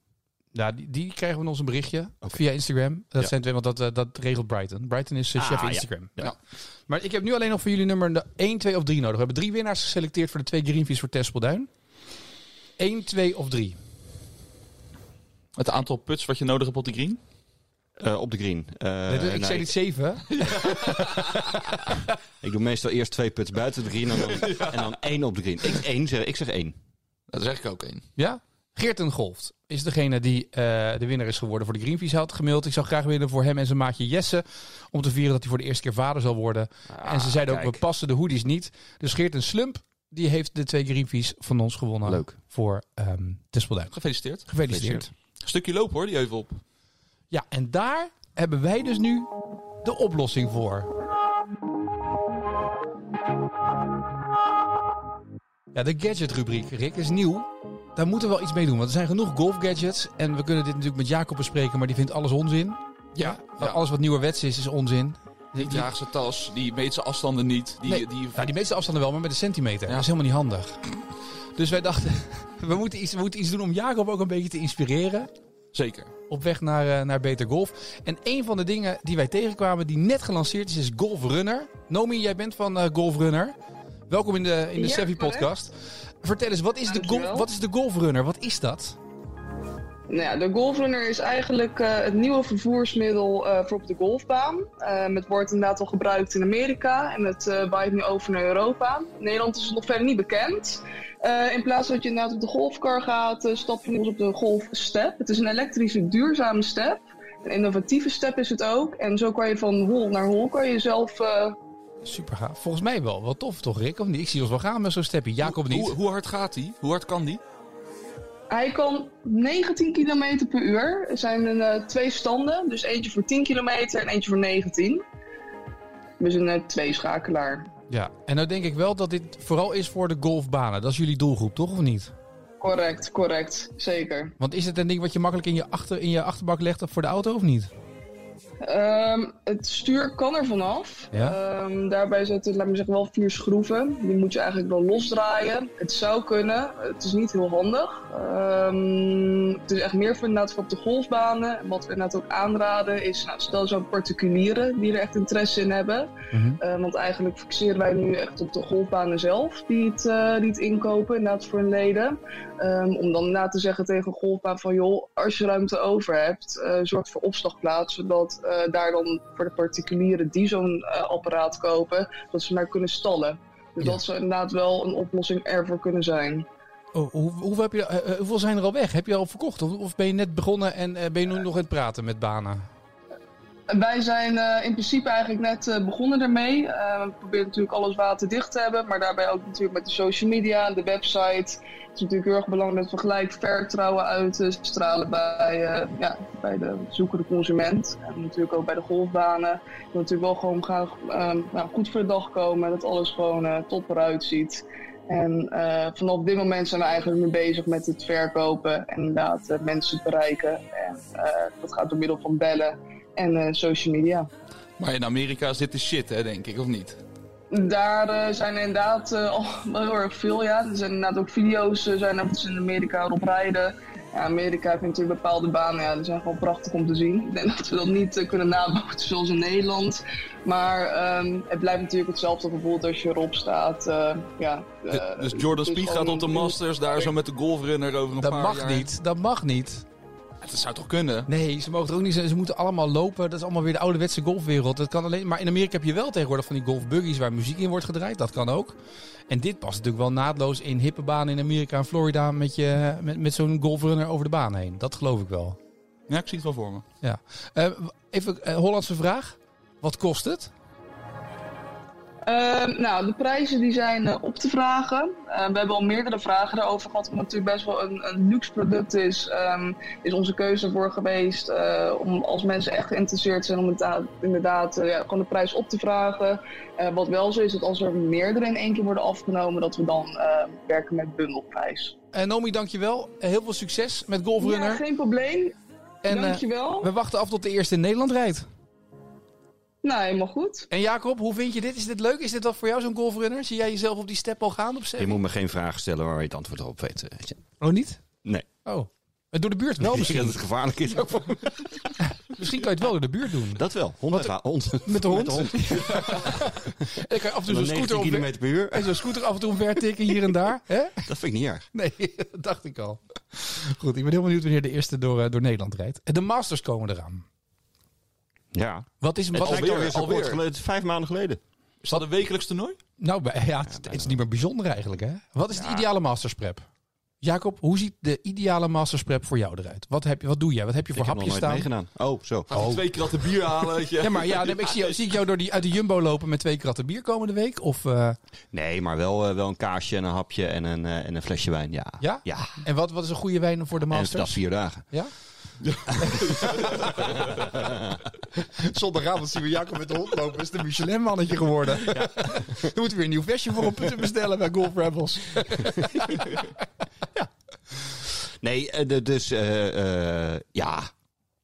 Speaker 2: ja, die, die krijgen van ons een berichtje
Speaker 5: Oké.
Speaker 2: via Instagram. Dat
Speaker 5: Ja.
Speaker 2: zijn twee, want dat, eh, dat regelt Brighton. Brighton is eh,
Speaker 5: Ah,
Speaker 2: chef
Speaker 5: ja.
Speaker 2: Instagram.
Speaker 5: Ja.
Speaker 2: Ja. Maar ik heb nu alleen nog voor jullie nummer de 1, 2 of 3 nodig. We hebben drie winnaars geselecteerd voor de twee Greenfields voor Tespelduin. 1, 2 of 3.
Speaker 1: Het aantal puts wat je nodig hebt op de green.
Speaker 5: Eh, op de green. Eh,
Speaker 2: Nee, ik
Speaker 5: nou,
Speaker 2: zei
Speaker 5: ik-
Speaker 2: niet 7.
Speaker 5: Ik doe meestal eerst twee puts buiten de green en dan, en dan één op de green. Ik, één, zeg, ik zeg één.
Speaker 1: Dat zeg ik ook één.
Speaker 2: Ja? Geerten Golft is degene die eh, de winnaar is geworden voor de Greenpeace had gemaild. Ik zou graag willen voor hem en zijn maatje Jesse. Om te vieren dat hij voor de eerste keer vader zal worden. en ze zeiden ook,
Speaker 5: Ah, kijk.
Speaker 2: we passen de hoodies niet. Dus Geerten Slump, die heeft de twee Greenpeace van ons gewonnen.
Speaker 5: Leuk.
Speaker 2: Voor ehm Tespelduin.
Speaker 1: Gefeliciteerd.
Speaker 2: Gefeliciteerd.
Speaker 1: Stukje lopen hoor, die heuvel op.
Speaker 2: Ja, en daar hebben wij dus nu de oplossing voor. Ja, de gadgetrubriek, Rick, is nieuw. Daar moeten we wel iets mee doen, want er zijn genoeg golfgadgets. En we kunnen dit natuurlijk met Jacob bespreken, maar die vindt alles onzin.
Speaker 1: Ja.
Speaker 2: Alles wat nieuwerwets is, is onzin.
Speaker 1: Die draagt zijn tas, die meet zijn afstanden niet. Die,
Speaker 2: Nee.
Speaker 1: die,
Speaker 2: Nou, die meeste afstanden wel, maar met een centimeter. Dat is helemaal niet handig. Dus wij dachten, we moeten, iets, we moeten iets doen om Jacob ook een beetje te inspireren.
Speaker 1: Zeker.
Speaker 2: op weg naar, eh, naar Beter Golf. En een van de dingen die wij tegenkwamen, die net gelanceerd is, is Golf Runner. Nomi, jij bent van eh, Golf Runner. Welkom in de, in de
Speaker 6: Ja,
Speaker 2: Savvy Podcast. Vertel eens, wat is, de
Speaker 6: Dankjewel.
Speaker 2: golf, wat is de Golf Runner? Wat is dat?
Speaker 6: Nou ja, de golfrunner is eigenlijk eh, het nieuwe vervoersmiddel eh, voor op de golfbaan. Ehm, het wordt inderdaad al gebruikt in Amerika en het eh waait nu over naar Europa. In Nederland is het nog verder niet bekend. Eh, in plaats dat je inderdaad op de golfkar gaat, eh, stap je ons op de golfstep. Het is een elektrische, duurzame step. Een innovatieve step is het ook. En zo kan je van hol naar hol kan je zelf eh,
Speaker 2: Super gaaf. Volgens mij wel. Wat tof toch, Rick? Of niet? Ik zie ons wel gaan met zo'n steppie. Jacob niet.
Speaker 1: Hoe, hoe hard gaat die? Hoe hard kan die?
Speaker 6: Hij kan 19 km per uur. Er zijn eh, twee standen, dus eentje voor 10 kilometer en eentje voor 19. Dus een eh, tweeschakelaar.
Speaker 2: Ja. En nou denk ik wel dat dit vooral is voor de golfbanen. Dat is jullie doelgroep, toch? Of niet?
Speaker 6: Correct, correct. Zeker.
Speaker 2: Want is het een ding wat je makkelijk in je, achter, in je achterbak legt voor de auto of niet?
Speaker 6: Ehm, het stuur kan er vanaf.
Speaker 2: Ja.
Speaker 6: Ehm, daarbij zitten, laat me zeggen, wel vier schroeven. Die moet je eigenlijk wel losdraaien. Het zou kunnen. Het is niet heel handig. Ehm, het is echt meer voor inderdaad voor op de golfbanen. En Wat we inderdaad ook aanraden is, nou, stel zo'n particulieren die er echt interesse in hebben. Eh, want eigenlijk fixeren wij nu echt op de golfbanen zelf die het, eh, die het inkopen, inderdaad voor hun leden. Ehm, om dan na te zeggen tegen een golfbaan van joh, als je ruimte over hebt, eh, zorg voor opslagplaats. Zodat eh, daar dan voor de particulieren die zo'n eh, apparaat kopen, dat ze maar kunnen stallen. Dus
Speaker 2: Ja.
Speaker 6: dat zou inderdaad wel een oplossing ervoor kunnen zijn.
Speaker 2: Oh, hoe, hoeveel, heb je, eh, eh, hoeveel zijn er al weg? Heb je al verkocht? Of, of ben je net begonnen en eh, ben je nu nog aan het praten met banen?
Speaker 6: En Wij zijn eh, in principe eigenlijk net eh, begonnen daarmee. Eh, we proberen natuurlijk alles waterdicht te hebben, maar daarbij ook natuurlijk met de social media, de website. Het is natuurlijk heel erg belangrijk dat we gelijk vertrouwen uit te stralen bij, eh, ja, bij de zoekende consument. En natuurlijk ook bij de golfbanen. Je wil natuurlijk wel gewoon graag ehm, nou, goed voor de dag komen, dat alles gewoon eh, top eruit ziet. En eh, vanaf dit moment zijn we eigenlijk mee bezig met het verkopen en inderdaad eh, mensen te bereiken. En eh, dat gaat door middel van bellen en eh, social media.
Speaker 1: Maar in Amerika is dit de shit, hè, denk ik, of niet?
Speaker 6: Daar eh, zijn inderdaad eh, al wel heel erg veel, ja. Er zijn inderdaad ook video's, eh, zijn er wat ze in Amerika op rijden. Ja, Amerika heeft natuurlijk bepaalde banen, ja, die zijn gewoon prachtig om te zien. Ik denk dat we dat niet eh, kunnen nabootsen zoals in Nederland. Maar ehm, het blijft natuurlijk hetzelfde gevoel als je erop staat. eh, ja,
Speaker 1: De-
Speaker 6: eh,
Speaker 1: dus Jordan
Speaker 6: het is
Speaker 1: Speed gaat
Speaker 6: gewoon
Speaker 1: op de
Speaker 6: een-
Speaker 1: Masters daar zo met de golfrunner over een
Speaker 2: Dat
Speaker 1: paar
Speaker 2: mag
Speaker 1: jaar.
Speaker 2: niet. Dat mag niet.
Speaker 1: Ja, dat zou toch kunnen?
Speaker 2: Nee, ze mogen er ook niet zijn. Ze moeten allemaal lopen. Dat is allemaal weer de ouderwetse golfwereld. Dat kan alleen. Maar in Amerika heb je wel tegenwoordig van die golfbuggies waar muziek in wordt gedraaid. Dat kan ook. En dit past natuurlijk wel naadloos in hippe banen in Amerika en Florida met, je, met, met zo'n golfrunner over de baan heen. Dat geloof ik wel.
Speaker 1: Ja, ik zie het wel voor me.
Speaker 2: Eh, w- even eh, Hollandse vraag. Wat kost het?
Speaker 6: Ehm, nou, de prijzen die zijn eh, op te vragen. Ehm, we hebben al meerdere vragen daarover gehad. Omdat het natuurlijk best wel een, een luxe product is, ehm, is onze keuze ervoor geweest. eh, om als mensen echt geïnteresseerd zijn, om het da- inderdaad eh, ja, gewoon de prijs op te vragen. Eh, wat wel zo is, dat als er meerdere in één keer worden afgenomen, dat we dan eh, werken met bundelprijs.
Speaker 2: Eh Nomi, dankjewel. Eh, heel veel succes met golfrunner.
Speaker 6: Ja, geen probleem.
Speaker 2: en eh,
Speaker 6: Dankjewel.
Speaker 2: we wachten af tot de eerste in Nederland rijdt.
Speaker 6: Nou, helemaal goed.
Speaker 2: En Jacob, hoe vind je dit? Is dit leuk? Is dit wat voor jou zo'n golfrunner? Zie jij jezelf op die step al gaan op
Speaker 5: Je
Speaker 2: zee?
Speaker 5: moet me geen vragen stellen waar je het antwoord op weet. eh, weet je.
Speaker 2: Oh, niet?
Speaker 5: Nee.
Speaker 2: Oh. En door de buurt wel
Speaker 5: Ik denk
Speaker 2: misschien.
Speaker 5: dat het gevaarlijk is. ook voor-
Speaker 2: misschien kan je het wel door de buurt doen.
Speaker 5: Dat wel. Honderd ga- hond. Dus
Speaker 2: Met de hond. En dan kan je af en toe zo'n
Speaker 5: 90
Speaker 2: scooter, omver,
Speaker 5: km per uur.
Speaker 2: en zo'n scooter af en toe omver tikken hier en daar. Hè?
Speaker 5: Dat vind ik niet erg.
Speaker 2: Nee, dat dacht ik al. Goed, ik ben heel benieuwd wanneer de eerste door, eh, door Nederland rijdt. En de Masters komen eraan.
Speaker 5: Ja.
Speaker 2: Wat is, wat
Speaker 5: Het lijkt
Speaker 1: alweer,
Speaker 5: alweer zo kort
Speaker 1: alweer.
Speaker 5: geleden. Het is Vijf maanden geleden.
Speaker 1: Is dat een wekelijks toernooi?
Speaker 2: Nou, bij- ja, het, het is niet meer bijzonder eigenlijk, hè? Wat is de ideale Masters prep? Jacob, hoe ziet de ideale Masters prep voor jou eruit? Wat, heb je, wat doe jij? Wat heb je voor
Speaker 5: Ik heb nog
Speaker 2: hapjes
Speaker 5: nooit
Speaker 2: staan?
Speaker 5: meegedaan. Oh, zo.
Speaker 1: Gaat hij twee kratten bier halen? weet je?
Speaker 2: Ja, maar ja, nee, maar ik zie, jou- zie ik jou door die, uit de Jumbo lopen met twee kratten bier komende week? Of, eh,
Speaker 5: Nee, maar wel, eh, wel een kaasje en een hapje en een, eh, en een flesje wijn. Ja.
Speaker 2: Ja?
Speaker 5: Ja.
Speaker 2: en wat, wat is een goede wijn voor de
Speaker 5: En dat
Speaker 2: Masters?
Speaker 5: vier dagen.
Speaker 2: Ja? Zondagavond zien we Jacob met de hond lopen. Is de Michelin-mannetje geworden. Dan moeten we weer een nieuw vestje voor hem te bestellen bij Golf Rebels.
Speaker 5: Nee, eh, de- dus eh, eh, ja.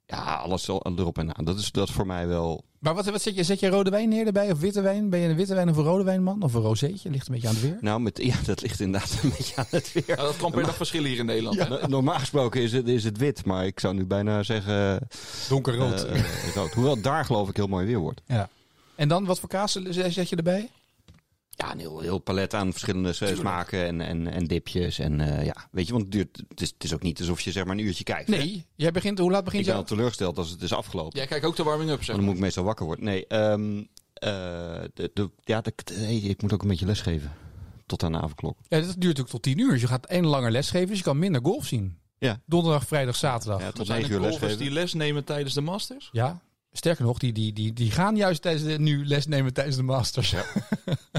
Speaker 5: Ja, alles al- erop en aan. Dat is dat is voor mij wel.
Speaker 2: Maar wat, wat zet, je, zet je rode wijn neer erbij? Of witte wijn? Ben je een witte wijn of een rode wijnman? Of een rozeetje? Ligt een beetje aan het weer.
Speaker 5: Nou, met, ja, dat ligt inderdaad een beetje aan het weer.
Speaker 1: Ja, dat kan per dag verschillen hier in Nederland. hè?
Speaker 5: No- Normaal gesproken is het, is het wit, maar ik zou nu bijna zeggen eh,
Speaker 2: Donkerrood.
Speaker 5: eh, rood. Hoewel daar geloof ik heel mooi weer wordt.
Speaker 2: ja. En dan, wat voor kaas zet je erbij?
Speaker 5: Ja, een heel, heel palet aan verschillende eh, smaken en, en, en dipjes. En eh, ja, weet je, want het, duurt, het, is, het is ook niet alsof je zeg maar een uurtje kijkt. hè?
Speaker 2: Nee, jij begint, hoe laat
Speaker 5: Ik
Speaker 2: begint
Speaker 5: ben al
Speaker 2: jou?
Speaker 5: teleurgesteld als het is afgelopen.
Speaker 1: Jij kijkt ook de warming-up, zeg
Speaker 5: Want Oh, dan moet ik meestal wakker worden. Nee, ehm, eh, de, de, ja, de, nee, ik moet ook een beetje lesgeven. Tot aan de avondklok.
Speaker 2: Ja, dat duurt ook tot tien uur. Dus je gaat één langer lesgeven, dus je kan minder golf zien.
Speaker 5: Ja.
Speaker 2: Donderdag, vrijdag, zaterdag.
Speaker 5: Ja, tot
Speaker 1: Zijn
Speaker 5: negen
Speaker 1: er
Speaker 5: uur
Speaker 1: golfers
Speaker 5: lesgeven.
Speaker 1: die les nemen tijdens de Masters?
Speaker 2: Ja, sterker nog, die, die, die, die gaan juist tijdens de, nu les nemen tijdens de Masters.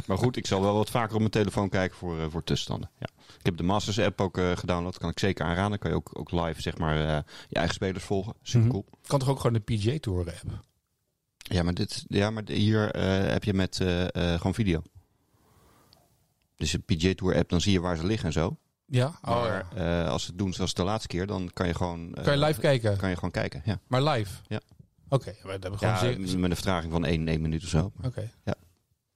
Speaker 5: Maar goed, ik zal wel wat vaker op mijn telefoon kijken voor, eh, voor tussenstanden. Ja. Ik heb de Masters app ook eh, gedownload. Kan ik zeker aanraden. Dan kan je ook, ook live zeg maar, eh, je eigen spelers volgen. Super cool.
Speaker 2: Kan toch ook gewoon de PGA Tour hebben?
Speaker 5: Mhm. Ja, maar, dit, ja, maar hier eh, heb je met eh, eh, gewoon video. Dus de PJ Tour app, dan zie je waar ze liggen en zo.
Speaker 2: Ja? Oh, ja.
Speaker 5: Maar eh, als ze het doen zoals de laatste keer, dan kan je gewoon, eh,
Speaker 2: Kan je live kijken?
Speaker 5: kan je gewoon kijken. Ja.
Speaker 2: Maar live?
Speaker 5: Ja.
Speaker 2: Oké, maar dat hebben we gewoon
Speaker 5: Ja,
Speaker 2: zeer- zeer-
Speaker 5: met een vertraging van 1, 1 minuut of zo.
Speaker 2: Oké.
Speaker 5: Ja.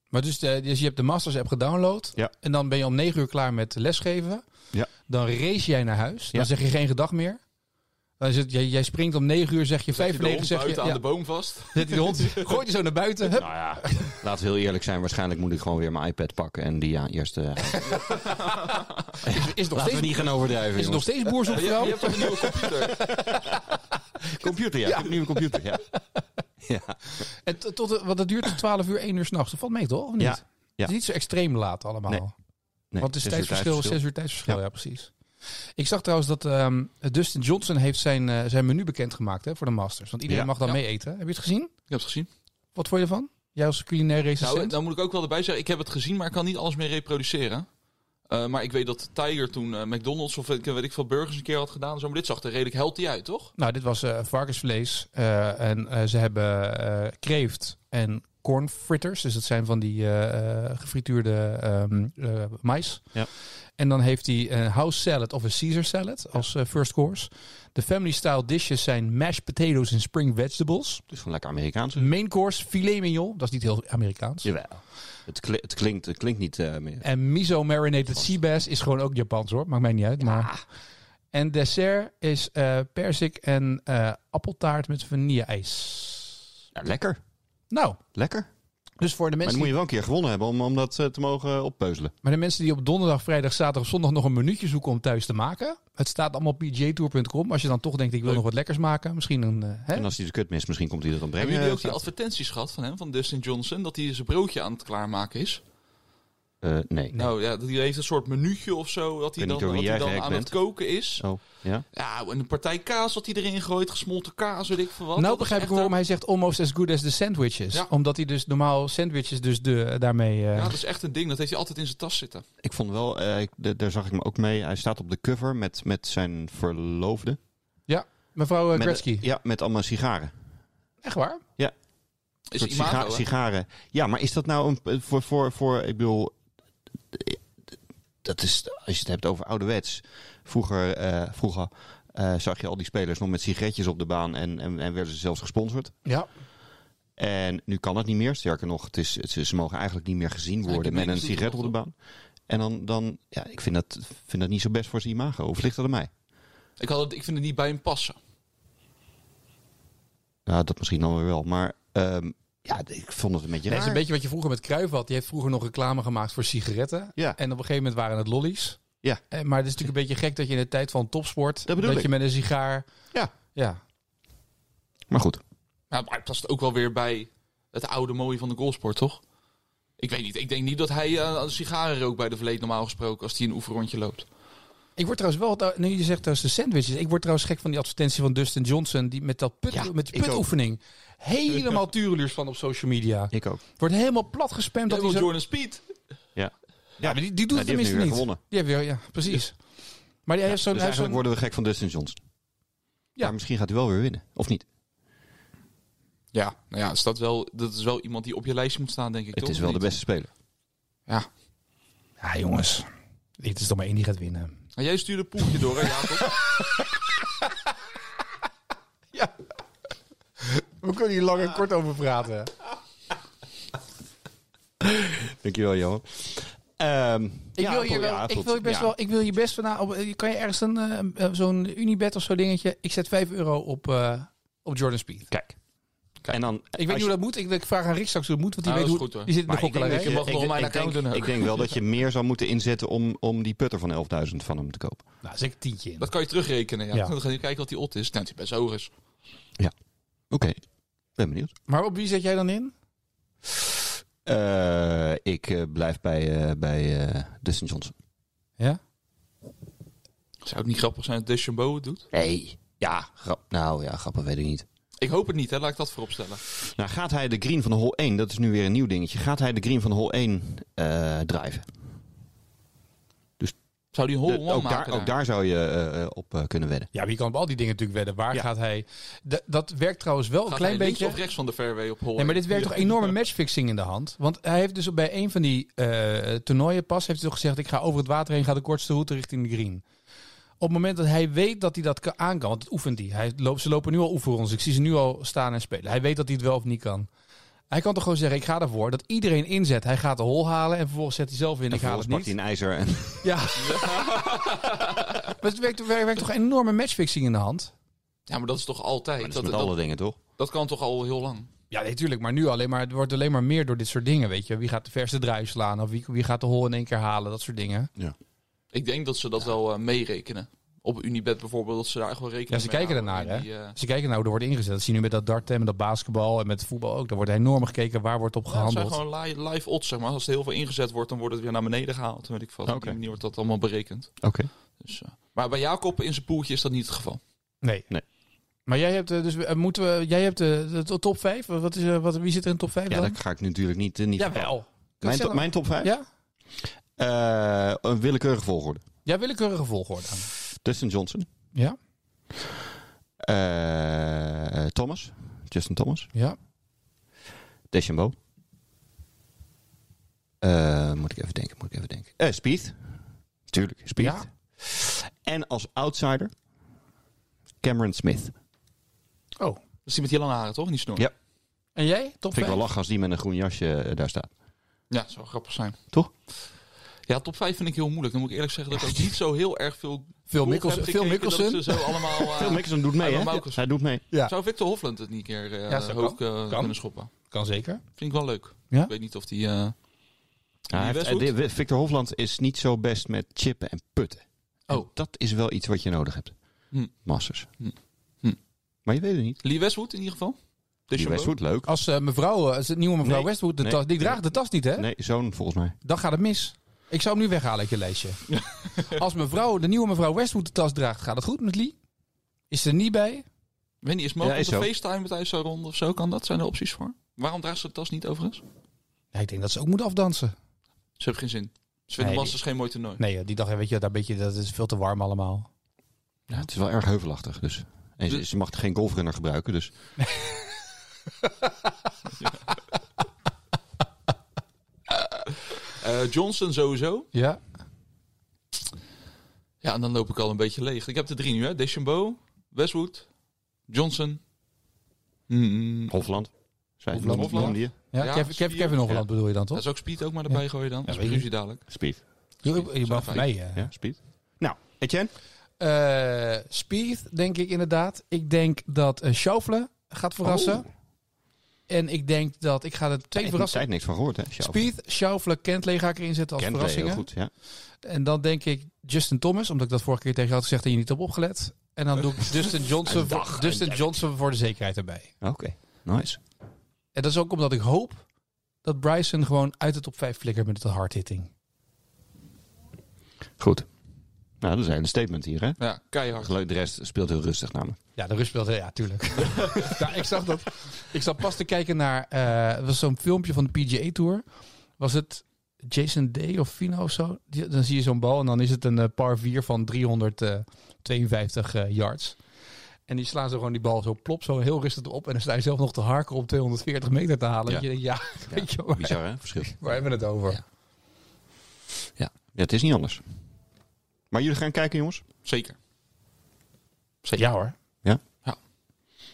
Speaker 2: Maar dus, de, dus je hebt de Masters app gedownload.
Speaker 5: Ja.
Speaker 2: En dan ben je om negen uur klaar met lesgeven.
Speaker 5: Ja.
Speaker 2: Dan race jij naar huis. Dan
Speaker 5: Ja.
Speaker 2: zeg je geen gedag meer. Dan is het, jij, jij springt om negen uur, zeg je
Speaker 1: Zet
Speaker 2: vijf
Speaker 1: je
Speaker 2: voor
Speaker 1: de
Speaker 2: negen,
Speaker 1: hond
Speaker 2: zeg je...
Speaker 1: buiten aan
Speaker 2: ja,
Speaker 1: de boom vast.
Speaker 2: zet je de hond, gooit je zo naar buiten. Hup.
Speaker 5: Nou ja, laten we heel eerlijk zijn. Waarschijnlijk moet ik gewoon weer mijn iPad pakken en die aan eerst... eh,
Speaker 2: Is het nog
Speaker 5: laten
Speaker 2: steeds,
Speaker 5: we niet gaan overdrijven,
Speaker 2: is het nog
Speaker 5: jongens.
Speaker 2: steeds boers op
Speaker 1: Je, je
Speaker 2: vrouw?
Speaker 1: hebt toch een nieuwe computer?
Speaker 5: Computer, ja. Ik heb nu een computer, ja. ja.
Speaker 2: En t- tot, want dat duurt tot 12 uur, 1 uur s'nachts. Dat valt mee toch? Of niet?
Speaker 5: Ja,
Speaker 2: Het
Speaker 5: ja.
Speaker 2: is niet zo extreem laat allemaal.
Speaker 5: Nee, Nee,
Speaker 2: Want het is
Speaker 5: zes uur
Speaker 2: tijdsverschil, 6
Speaker 5: tijdsverschil.
Speaker 2: uur tijdsverschil. Ja.
Speaker 5: Ja.
Speaker 2: precies. Ik zag trouwens dat ehm, Dustin Johnson heeft zijn, eh, zijn menu bekendgemaakt hè, voor de Masters. Want iedereen
Speaker 5: Ja.
Speaker 2: mag dan
Speaker 1: Ja.
Speaker 2: mee eten. Heb je het gezien?
Speaker 1: Ik heb het gezien.
Speaker 2: Wat vond je ervan? Jij als culinair recensent?
Speaker 1: Nou, dan moet ik ook wel erbij zeggen, ik heb het gezien, maar ik kan niet alles meer reproduceren. Eh, maar ik weet dat Tiger toen eh, McDonald's of weet ik- weet ik veel burgers een keer had gedaan. en Zo, maar dit zag er redelijk healthy uit, toch?
Speaker 2: Nou, dit was eh, varkensvlees. eh, en eh, ze hebben eh kreeft en cornfritters. Dus dat zijn van die eh, eh, gefrituurde ehm eh, mais.
Speaker 5: Ja.
Speaker 2: En dan heeft hij een house salad of een Caesar salad als eh, first course. De family style dishes zijn mashed potatoes en spring vegetables.
Speaker 5: Dus gewoon lekker Amerikaans.
Speaker 2: Main course filet mignon. Dat is niet heel Amerikaans.
Speaker 5: Jawel. Het, kli- het, klinkt, het klinkt niet eh, meer.
Speaker 2: En miso marinated sea bass is gewoon ook Japans hoor. Maakt mij niet uit. Maar... En dessert is eh perzik en eh, appeltaart met vanille-ijs.
Speaker 5: Ja, lekker.
Speaker 2: Nou,
Speaker 5: Lekker. Maar
Speaker 2: dus voor de mensen,
Speaker 5: dan
Speaker 2: die-
Speaker 5: moet
Speaker 2: maar,
Speaker 5: je wel een keer gewonnen hebben om, om dat eh, te mogen oppeuzelen.
Speaker 2: de mensen die op donderdag, vrijdag, zaterdag of zondag nog een minuutje zoeken om thuis te maken. Het staat allemaal op pjtour.com. Als je dan toch denkt, ik wil nog wat lekkers maken. Misschien een... eh, hè?
Speaker 5: En als hij de kut mist, misschien komt hij dat dan brengen.
Speaker 1: Hebben jullie ook
Speaker 5: eh,
Speaker 1: die advertenties gehad van hem, van Dustin Johnson, dat hij zijn broodje aan het klaarmaken is?
Speaker 5: Eh, nee.
Speaker 1: Nou ja, die heeft een soort menuutje of zo, dat hij dan,
Speaker 5: weet niet door
Speaker 1: dat
Speaker 5: wie
Speaker 1: hij
Speaker 5: jij
Speaker 1: dan aan
Speaker 5: gehackt
Speaker 1: het koken is.
Speaker 5: Oh, ja?
Speaker 1: Ja, en een partij kaas dat hij erin gooit, gesmolten kaas, weet ik veel wat.
Speaker 2: nou begrijp ik waarom
Speaker 5: eh,
Speaker 1: hij.
Speaker 2: hij zegt almost as good as the sandwiches.
Speaker 1: Ja.
Speaker 2: Omdat hij dus normaal sandwiches dus de, daarmee... eh,
Speaker 1: Ja, dat is echt een ding, dat heeft hij altijd in zijn tas zitten.
Speaker 5: Ik vond wel, eh, ik- d- daar zag ik me ook mee. Hij staat op de cover met, met zijn verloofde.
Speaker 2: Mevrouw eh,
Speaker 5: Met-
Speaker 2: Gretzky,
Speaker 5: ja, met allemaal sigaren.
Speaker 2: echt waar?
Speaker 1: Is
Speaker 5: soort
Speaker 1: imago,
Speaker 5: siga-
Speaker 1: hè?
Speaker 5: sigaren. Ja, maar is dat nou een voor, voor, voor ik bedoel, dat is, als je het hebt over ouderwets. Vroeger, eh, vroeger eh, zag je al die spelers nog met sigaretjes op de baan en, en, en werden ze zelfs gesponsord.
Speaker 2: Ja.
Speaker 5: En nu kan dat niet meer. Sterker nog, het is, het, ze ze mogen eigenlijk niet meer gezien
Speaker 1: die
Speaker 5: worden met een
Speaker 1: menus doen
Speaker 5: sigaret
Speaker 1: het
Speaker 5: op de baan. En dan, dan ja, ik vind dat, vind dat niet zo best voor zijn imago. Of ligt dat aan mij?
Speaker 1: Ik, had het, ik vind het niet bij hem passen.
Speaker 5: Nou, dat misschien dan weer wel. Maar ehm, ja, ik vond het een
Speaker 2: Nee,
Speaker 5: beetje raar.
Speaker 2: het is een beetje wat je vroeger met Kruif had. Die heeft vroeger nog reclame gemaakt voor sigaretten.
Speaker 5: Ja.
Speaker 2: En op een gegeven moment waren het lollies.
Speaker 5: Ja.
Speaker 2: Eh, Maar het is natuurlijk een beetje gek dat je in de tijd van topsport...
Speaker 5: Dat bedoel ik.
Speaker 2: je met een sigaar...
Speaker 5: Ja.
Speaker 2: Ja.
Speaker 5: Maar goed.
Speaker 1: Ja, Nou, maar het past ook wel weer bij het oude mooie van de golfsport, toch? Ik weet niet, ik denk niet dat hij eh, een sigaren rookt bij de verleed normaal gesproken als hij een oefenrondje loopt.
Speaker 2: Ik word trouwens wel, nu je zegt trouwens de sandwiches, ik word trouwens gek van die advertentie van Dustin Johnson die met, dat put,
Speaker 5: Ja,
Speaker 2: met die
Speaker 5: ik ook.
Speaker 2: putoefening helemaal tureluurs van op social media.
Speaker 5: Ik ook.
Speaker 2: Wordt helemaal plat gespamd
Speaker 1: Dat
Speaker 2: dat hij
Speaker 1: is
Speaker 2: zo...
Speaker 1: Jordan Speed.
Speaker 2: Ja, maar die, die doet
Speaker 5: Nou,
Speaker 2: het
Speaker 5: die heeft
Speaker 2: tenminste
Speaker 5: nu weer
Speaker 2: niet.
Speaker 5: gewonnen.
Speaker 2: Die heeft weer, ja, precies. Maar die hij heeft zo'n...
Speaker 5: Dus
Speaker 2: hij heeft
Speaker 5: eigenlijk
Speaker 2: zo'n-
Speaker 5: worden we gek van Dustin Johnson.
Speaker 2: Ja.
Speaker 5: Ja. Maar misschien gaat hij wel weer winnen. Of niet?
Speaker 1: Ja, nou ja, is dat, wel, dat is wel iemand die op je lijstje moet staan, denk ik.
Speaker 5: het
Speaker 1: toch?
Speaker 5: is wel
Speaker 1: Of
Speaker 5: de
Speaker 1: niet?
Speaker 5: beste speler.
Speaker 1: Ja.
Speaker 2: Ja, jongens. Dit is toch maar één die gaat winnen.
Speaker 1: En Nou, jij stuurde een poeltje door, hè, Jacob?
Speaker 2: We kunnen hier lang en kort over praten.
Speaker 5: Dankjewel, Johan. Ehm
Speaker 2: Ik,
Speaker 5: ja,
Speaker 2: wil
Speaker 5: Apple,
Speaker 2: je wel,
Speaker 5: ja,
Speaker 2: ik
Speaker 5: goed.
Speaker 2: wil je best
Speaker 5: Ja.
Speaker 2: wel, ik wil je best van, nou, op- eh, kan je ergens een, eh, eh, zo'n Unibet of zo'n dingetje, ik zet 5 euro op, eh, op Jordan Speed.
Speaker 5: Kijk. En dan,
Speaker 2: Ik weet niet hoe dat moet. Ik, ik vraag aan Rick straks hoe het moet, want die
Speaker 1: Nou, dat
Speaker 2: weet hoe.
Speaker 1: is goed, hoor.
Speaker 2: die zit in de
Speaker 5: Maar ik denk
Speaker 2: gokkelarij.
Speaker 5: dat je-
Speaker 1: Je mag nog
Speaker 5: ik-
Speaker 1: mijn
Speaker 5: ik
Speaker 1: account
Speaker 5: denk-
Speaker 1: doen ook.
Speaker 5: Ik denk wel dat je meer zou moeten inzetten om, om die putter van 11.000 van hem te kopen.
Speaker 2: Nou, zeg ik tientje in.
Speaker 1: Dat kan je terugrekenen, ja.
Speaker 2: Ja.
Speaker 1: Dan ga je kijken wat die ot is. Nou, die best hoog is.
Speaker 5: Oké. Ben benieuwd.
Speaker 2: Maar op wie zet jij dan in?
Speaker 5: Eh, ik eh, blijf bij, eh, bij eh Dustin Johnson.
Speaker 2: Ja?
Speaker 1: Zou het niet grappig zijn dat Deschambeau het doet?
Speaker 5: Nee. Ja, grap. Nou ja, grappig weet ik niet.
Speaker 1: Ik hoop het niet, hè. Laat ik dat vooropstellen.
Speaker 5: Nou, gaat hij de green van hole 1, dat is nu weer een nieuw dingetje. Gaat hij de green van hole 1 eh drijven? Dus
Speaker 1: Zou die een hole
Speaker 5: De-
Speaker 1: one
Speaker 5: ook,
Speaker 1: maken
Speaker 5: daar, ook daar zou je eh, eh, op eh, kunnen wedden.
Speaker 2: Ja, maar je kan op al die dingen natuurlijk wedden. Waar gaat hij... D- dat werkt trouwens wel een
Speaker 1: Gaat
Speaker 2: klein
Speaker 1: hij links
Speaker 2: beetje...
Speaker 1: of rechts van de fairway op hole?
Speaker 2: Nee, maar dit werkt
Speaker 1: Ja.
Speaker 2: toch enorme matchfixing in de hand? Want hij heeft dus bij een van die eh, toernooien pas heeft hij toch gezegd... ik ga over het water heen, ga de kortste route richting de green. Op het moment dat hij weet dat hij dat ka- aan kan... want dat oefent hij. hij loopt, ze lopen nu al oefenrondes. Ik zie ze nu al staan en spelen. Hij weet dat hij het wel of niet kan. Hij kan toch gewoon zeggen, ik ga ervoor. Dat iedereen inzet. Hij gaat de hol halen en vervolgens zet hij zelf in.
Speaker 5: En
Speaker 2: Ik haal
Speaker 5: vervolgens
Speaker 2: het
Speaker 5: pakt
Speaker 2: niet.
Speaker 5: hij een ijzer en
Speaker 2: Ja. maar het werkt, er werkt toch enorme matchfixing in de hand?
Speaker 1: Ja, maar dat is toch altijd.
Speaker 5: dat is
Speaker 1: dat,
Speaker 5: met
Speaker 1: dat-
Speaker 5: alle dingen, toch?
Speaker 1: dat kan toch al heel lang.
Speaker 2: Ja, natuurlijk. maar nu alleen maar, het wordt alleen maar meer door dit soort dingen. Weet je, wie gaat de verste draai slaan? Of wie, wie gaat de hol in één keer halen? Dat soort dingen.
Speaker 1: Ik denk dat ze dat wel eh, meerekenen. Op Unibet bijvoorbeeld, dat ze daar echt wel rekening
Speaker 2: Ja, ze
Speaker 1: mee
Speaker 2: kijken
Speaker 1: houden.
Speaker 2: ernaar,
Speaker 1: En die, eh,
Speaker 2: Als je kijkt naar hoe er wordt ingezet, dat zie je nu met dat darten en met dat basketbal en met voetbal ook. Daar wordt enorm gekeken waar wordt op
Speaker 1: ja, dat zijn
Speaker 2: gehandeld.
Speaker 1: gewoon li- live odds, zeg maar. Als er heel veel ingezet wordt, dan wordt het weer naar beneden gehaald. Weet ik veel. Op
Speaker 5: Oké.
Speaker 1: die manier wordt dat allemaal berekend.
Speaker 5: Oké.
Speaker 1: Dus, eh, maar bij Jacob in zijn poeltje is dat niet het geval.
Speaker 2: Nee.
Speaker 5: Nee.
Speaker 2: Maar jij hebt eh, dus eh, moeten we, jij hebt eh, de, de top 5. Wat is, eh, wat, wie zit er in de top 5
Speaker 5: Ja,
Speaker 2: dan?
Speaker 5: dat ga ik natuurlijk niet. eh, niet verklappen.
Speaker 2: Jawel.
Speaker 5: Mijn,
Speaker 2: Zeg
Speaker 5: top,
Speaker 2: dan-
Speaker 5: mijn top 5?
Speaker 2: Ja?
Speaker 5: een willekeurige volgorde.
Speaker 2: Ja, willekeurige volgorde.
Speaker 5: Dustin Johnson.
Speaker 2: Ja?
Speaker 5: eh, Thomas. Justin Thomas.
Speaker 2: Ja.
Speaker 5: Deschambeau. Eh, moet ik even denken, moet ik even denken. Eh, Speed. Tuurlijk, Speed.
Speaker 2: Ja.
Speaker 5: En als outsider Cameron Smith. Vind
Speaker 2: Oh.
Speaker 1: Dat is die met die lange haren, toch? Niet snor.
Speaker 5: Ja.
Speaker 2: En jij? Top
Speaker 5: ik wel
Speaker 2: 5?
Speaker 5: lachen als die met een groen jasje eh, daar staat.
Speaker 1: Ja, dat zou grappig zijn.
Speaker 5: Toch?
Speaker 1: Ja, top 5 vind ik heel moeilijk. Dan moet ik eerlijk zeggen dat ik ook niet zo heel erg veel...
Speaker 2: Veel
Speaker 1: golf
Speaker 2: Mikkelsen.
Speaker 1: heb
Speaker 2: Veel
Speaker 1: gekeken dat
Speaker 2: Mikkelsen.
Speaker 1: ze zo allemaal... eh,
Speaker 5: Phil Mickelson doet mee,
Speaker 1: Ivan
Speaker 5: hè?
Speaker 1: Maukers.
Speaker 5: Hij doet mee.
Speaker 2: Ja.
Speaker 1: Zou Victor Hofland het niet een keer eh,
Speaker 2: Ja, zo kan.
Speaker 1: hoog eh,
Speaker 2: Kan.
Speaker 1: kunnen schoppen?
Speaker 2: Kan zeker.
Speaker 1: Vind ik wel leuk.
Speaker 2: Ja?
Speaker 1: Ik weet niet of die... eh,
Speaker 5: Ja, hij heeft-
Speaker 1: Westwood?
Speaker 5: eh, Victor Hofland is niet zo best met chippen en putten. En
Speaker 1: Oh.
Speaker 5: dat is wel iets wat je nodig hebt.
Speaker 1: Hm.
Speaker 5: Masters.
Speaker 1: Hm. Hm. Dus
Speaker 5: Maar je weet het niet.
Speaker 1: Lee Westwood in ieder geval.
Speaker 5: Die
Speaker 1: Deschambeau.
Speaker 5: Westwood, leuk.
Speaker 2: Als eh, mevrouw, eh, als het nieuwe mevrouw
Speaker 5: Nee.
Speaker 2: Westwood, de
Speaker 5: Nee.
Speaker 2: tas, die draagt de tas niet, hè?
Speaker 5: Nee, zoon volgens mij.
Speaker 2: Dan gaat het mis. Ik zou hem nu weghalen uit je lijstje. Als mevrouw, de nieuwe mevrouw Westwood de tas draagt, gaat het goed met Lee? Is ze er niet bij?
Speaker 1: Ik weet niet, is mogelijk
Speaker 5: Ja,
Speaker 1: op
Speaker 5: is zo.
Speaker 1: de FaceTime met IJs rond of zo? Kan dat? Zijn er opties voor? Waarom draagt ze de tas niet overigens?
Speaker 2: Ja, ik denk dat ze ook moet afdansen.
Speaker 1: Ze heeft geen zin. Ze
Speaker 2: Nee,
Speaker 1: vinden Masters geen mooi toernooi.
Speaker 2: Nee, eh, die dag, eh, weet je, daar beetje, dat is veel te warm allemaal.
Speaker 5: Ja, het is wel erg heuvelachtig. Dus. En ze, ze mag geen golfrunner gebruiken. Dus.
Speaker 1: Eh, Johnson sowieso.
Speaker 2: Ja,
Speaker 1: Ja, en dan loop ik al een beetje leeg. Ik heb de drie nu, hè. Deschambeau, Westwood, Johnson. Mm,
Speaker 5: Hofland. Zij
Speaker 1: Hofland,
Speaker 5: noemde-
Speaker 1: Hofland.
Speaker 5: noemde je.
Speaker 2: ja,
Speaker 1: Ja,
Speaker 2: Kev- Kev-
Speaker 1: spier.
Speaker 2: Kevin Hofland
Speaker 5: Ja.
Speaker 2: bedoel je dan
Speaker 1: dat
Speaker 2: toch?
Speaker 1: is ook Speed ook maar erbij gooien dan. Dat is
Speaker 2: weet
Speaker 1: ruzie dadelijk.
Speaker 5: Speed.
Speaker 2: Je, je mag van
Speaker 1: fijn.
Speaker 2: mij, eh.
Speaker 5: Ja, Speed. Nou, Etienne.
Speaker 2: Eh, Speed, denk ik inderdaad. Ik denk dat eh Schaufele gaat verrassen. En ik denk dat, ik ga de twee
Speaker 5: Ik heb
Speaker 2: verrassingen...
Speaker 5: tijd niks van gehoord, hè? Sjoerd.
Speaker 2: Speed, Schaufele, Kentley ga ik erin zetten als
Speaker 5: Kent heel
Speaker 2: verrassingen.
Speaker 5: goed, ja.
Speaker 2: En dan denk ik Justin Thomas, omdat ik dat vorige keer tegen je had gezegd en je niet op opgelet. En dan doe ik Dustin Johnson, voor, Dustin Johnson voor de zekerheid erbij.
Speaker 5: Oké, nice.
Speaker 2: En dat is ook omdat ik hoop dat Bryson gewoon uit de top 5 flikkert met de hardhitting.
Speaker 5: Goed. Nou, dat is een hele statement hier, hè?
Speaker 1: Ja, keihard.
Speaker 5: Leuk, de rest speelt heel rustig namelijk.
Speaker 2: Ja, de rust speelde, ja, tuurlijk. nou, ik zag dat. Ik zat pas te kijken naar. eh, het was zo'n filmpje van de PGA Tour. Was het Jason Day of Fino of zo? Die- dan zie je zo'n bal en dan is het een eh, par 4 van 352 eh, yards. En die slaan zo gewoon die bal zo plop, zo heel rustig op. En dan sta je zelf nog te harken om 240 meter te halen.
Speaker 5: Ja.
Speaker 2: Dat je denkt, ja, weet je, waar,
Speaker 5: Bizar, hè? Verschil.
Speaker 2: waar hebben we het over?
Speaker 5: Ja. Ja, het is niet anders. Maar jullie gaan kijken, jongens.
Speaker 1: Zeker.
Speaker 2: Ja hoor.
Speaker 5: Ja?
Speaker 1: Ja.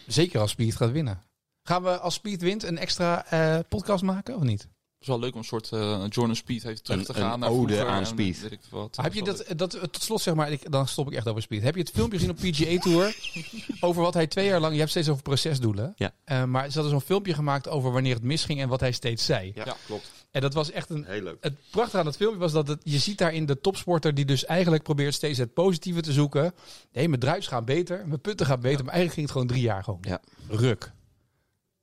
Speaker 2: Zeker als Speed gaat winnen. Gaan we als Speed wint een extra eh, podcast maken of niet?
Speaker 1: Het is wel leuk om een soort eh Jordan Speed heeft terug
Speaker 5: Een-
Speaker 1: te
Speaker 5: een
Speaker 1: gaan. naar
Speaker 5: ode
Speaker 1: vroeger
Speaker 5: aan
Speaker 1: en
Speaker 5: Speed.
Speaker 1: weet ik wat.
Speaker 2: Maar heb je dat, dat tot slot zeg maar, ik, dan stop ik echt over speed. Heb je het filmpje gezien op PGA Tour over wat hij twee jaar lang, je hebt steeds over procesdoelen,
Speaker 5: Ja.
Speaker 2: Eh, maar ze hadden zo'n filmpje gemaakt over wanneer het misging en wat hij steeds zei.
Speaker 1: Ja, klopt.
Speaker 2: En dat was echt een,
Speaker 5: Heel leuk.
Speaker 2: het prachtige aan dat filmpje was dat het, je ziet daarin de topsporter die dus eigenlijk probeert steeds het positieve te zoeken. Nee, mijn druips gaan beter, mijn punten gaan beter, maar eigenlijk ging het gewoon drie jaar gewoon.
Speaker 5: Ja.
Speaker 2: Ruk.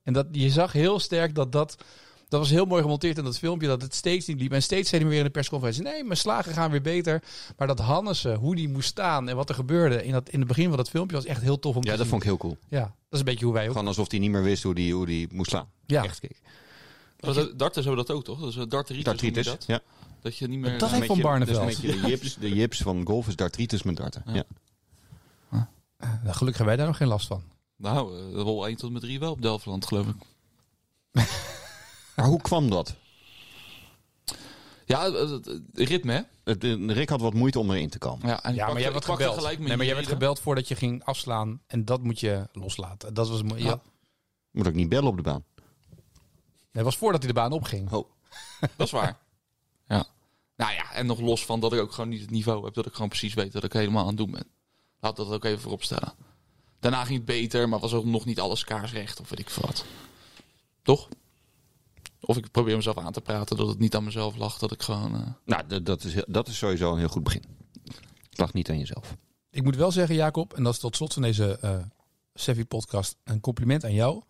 Speaker 2: En dat, je zag heel sterk dat dat, dat was heel mooi gemonteerd in dat filmpje, dat het steeds niet liep. En steeds zei hij weer in de persconferentie, nee, mijn slagen gaan weer beter. Maar dat Hannesen, hoe die moest staan en wat er gebeurde in, dat, in het begin van dat filmpje was echt heel tof om
Speaker 5: Ja,
Speaker 2: te
Speaker 5: dat
Speaker 2: zien.
Speaker 5: vond ik heel cool.
Speaker 2: Ja, dat is een beetje hoe wij ook.
Speaker 5: Gewoon alsof hij niet meer wist hoe hij hoe die moest slaan.
Speaker 2: Ja.
Speaker 5: Echt, kijk.
Speaker 1: Dat, darters hebben dat ook, toch? Dat is eh, darteritis. noem je
Speaker 5: Tartritis.
Speaker 1: dat?
Speaker 5: Ja.
Speaker 1: Dat je niet meer...
Speaker 2: Dat heeft
Speaker 5: Met
Speaker 2: Van
Speaker 5: je-
Speaker 2: Barneveld.
Speaker 5: Dus met je de jips, de jips van golf is dartritis met darten.
Speaker 1: Ja.
Speaker 5: Ja.
Speaker 2: Nou, gelukkig hebben wij daar nog geen last van.
Speaker 1: Nou, eh, rol 1 tot en met 3 wel op Delftland, geloof ik.
Speaker 5: Maar hoe kwam dat?
Speaker 1: Ja, eh, eh, ritme, hè?
Speaker 5: Het- eh, Rick had wat moeite om erin te
Speaker 1: Ja,
Speaker 5: komen.
Speaker 1: en ik
Speaker 2: Ja, maar
Speaker 1: pakte-
Speaker 2: jij
Speaker 1: ik
Speaker 2: werd
Speaker 1: pakte
Speaker 2: gebeld.
Speaker 1: gelijk mijn
Speaker 2: Nee, maar jij werd
Speaker 1: jelen.
Speaker 2: gebeld voordat je ging afslaan. En dat moet je loslaten. Dat was, mo- ja.
Speaker 1: Ja.
Speaker 5: Moet ook niet bellen op de baan.
Speaker 2: Nee, was voordat hij de baan opging.
Speaker 5: Oh.
Speaker 1: Dat is waar. ja. Nou ja, en nog los van dat ik ook gewoon niet het niveau heb dat ik gewoon precies weet dat ik helemaal aan het doen ben. Laat dat ook even voorop stellen. Daarna ging het beter, maar was ook nog niet alles kaarsrecht of weet ik veel wat. Toch? Of ik probeer mezelf aan te praten dat het niet aan mezelf lag, dat ik gewoon... eh,
Speaker 5: Nou, d- dat is, heel- dat is sowieso een heel goed begin. Het lag niet aan jezelf.
Speaker 2: Ik moet wel zeggen, Jacob, en dat is tot slot van deze eh Sevi podcast een compliment aan jou.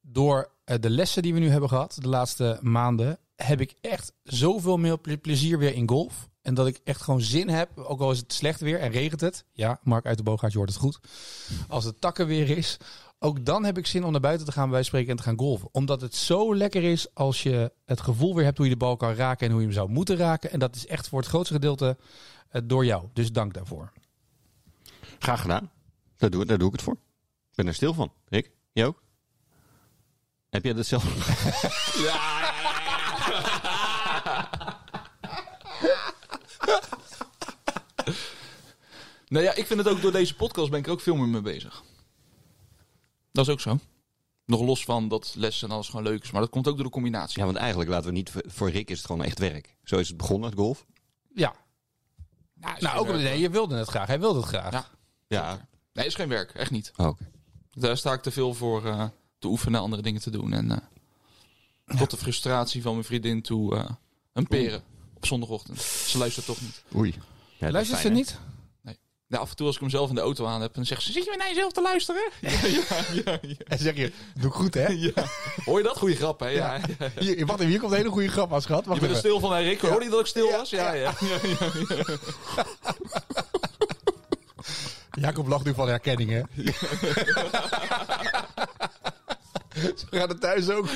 Speaker 2: Door eh, de lessen die we nu hebben gehad de laatste maanden, heb ik echt zoveel meer ple- plezier weer in golf. En dat ik echt gewoon zin heb, ook al is het slecht weer en regent het. Ja, Mark uit de Boogaard, je hoort het goed. Als het takken weer is, ook dan heb ik zin om naar buiten te gaan bij wijze van spreken en te gaan golven. Omdat het zo lekker is als je het gevoel weer hebt hoe je de bal kan raken en hoe je hem zou moeten raken. En dat is echt voor het grootste gedeelte eh, door jou. Dus dank daarvoor.
Speaker 5: Graag gedaan. Daar doe, daar doe ik het voor. Ik ben er stil van. Rick, jij ook? Heb jij dat zelf?
Speaker 1: Nou ja, ik vind het ook door deze podcast ben ik er ook veel meer mee bezig. Dat is ook zo. Nog los van dat lessen en alles gewoon leuk is, maar dat komt ook door de combinatie.
Speaker 5: Ja, want eigenlijk laten we niet... Voor Rick is het gewoon echt werk. Zo is het begonnen, het golf.
Speaker 2: Ja.
Speaker 1: Nou, is geen
Speaker 2: Nou, ook omdat
Speaker 1: werk.
Speaker 2: nee, je wilde het graag. Hij wilde het graag.
Speaker 1: Ja.
Speaker 5: Ja,
Speaker 1: Nee, is geen werk, echt niet.
Speaker 5: ook.
Speaker 1: Daar sta ik te veel voor eh, te oefenen, andere dingen te doen. En eh, tot de frustratie van mijn vriendin toe eh, een peren op zondagochtend. Ze luistert toch niet.
Speaker 5: Oei. Ja, dat is
Speaker 2: Luistert ze
Speaker 5: fijn, hè?
Speaker 2: niet?
Speaker 1: Ja, af en toe als ik hem zelf in de auto aan heb, dan zegt ze... Zit je weer naar jezelf te luisteren? Ja, ja, ja.
Speaker 2: En zeg je, doe ik goed hè?
Speaker 1: Hoor je dat? Goeie grap, hè? Ja.
Speaker 2: Ja. Hier, wacht even, hier komt een hele goede grap als schat.
Speaker 1: Je
Speaker 2: Wacht
Speaker 1: bent er
Speaker 2: even.
Speaker 1: stil van, hè, Rick? Hoorde je dat ik stil was? Ja, ja.
Speaker 2: Jacob lacht nu van herkenning hè? Ze gaan het thuis ook.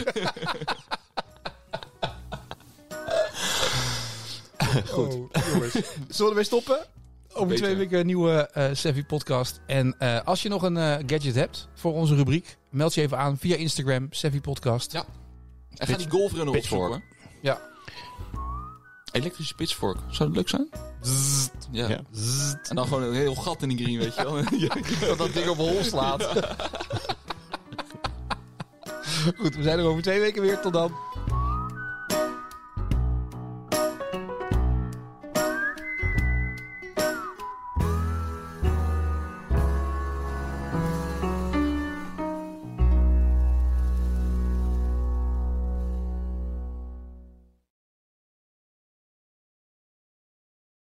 Speaker 2: Goed. Oh, jongens. Zullen we ermee stoppen? Over
Speaker 1: Beter.
Speaker 2: twee weken een nieuwe eh Savvy podcast. En eh, als je nog een eh, gadget hebt voor onze rubriek, meld je even aan via Instagram, Savvy podcast.
Speaker 1: Ja. En ga die golfrunner
Speaker 5: pitchfork.
Speaker 1: opzoeken, hoor.
Speaker 2: Ja.
Speaker 1: Elektrische pitchfork. Zou dat leuk zijn? Ja.
Speaker 5: Ja.
Speaker 1: En dan gewoon een heel gat in die green, weet je wel.
Speaker 2: dat dat ding op hol slaat. Goed, we zijn er over twee weken weer. Tot dan.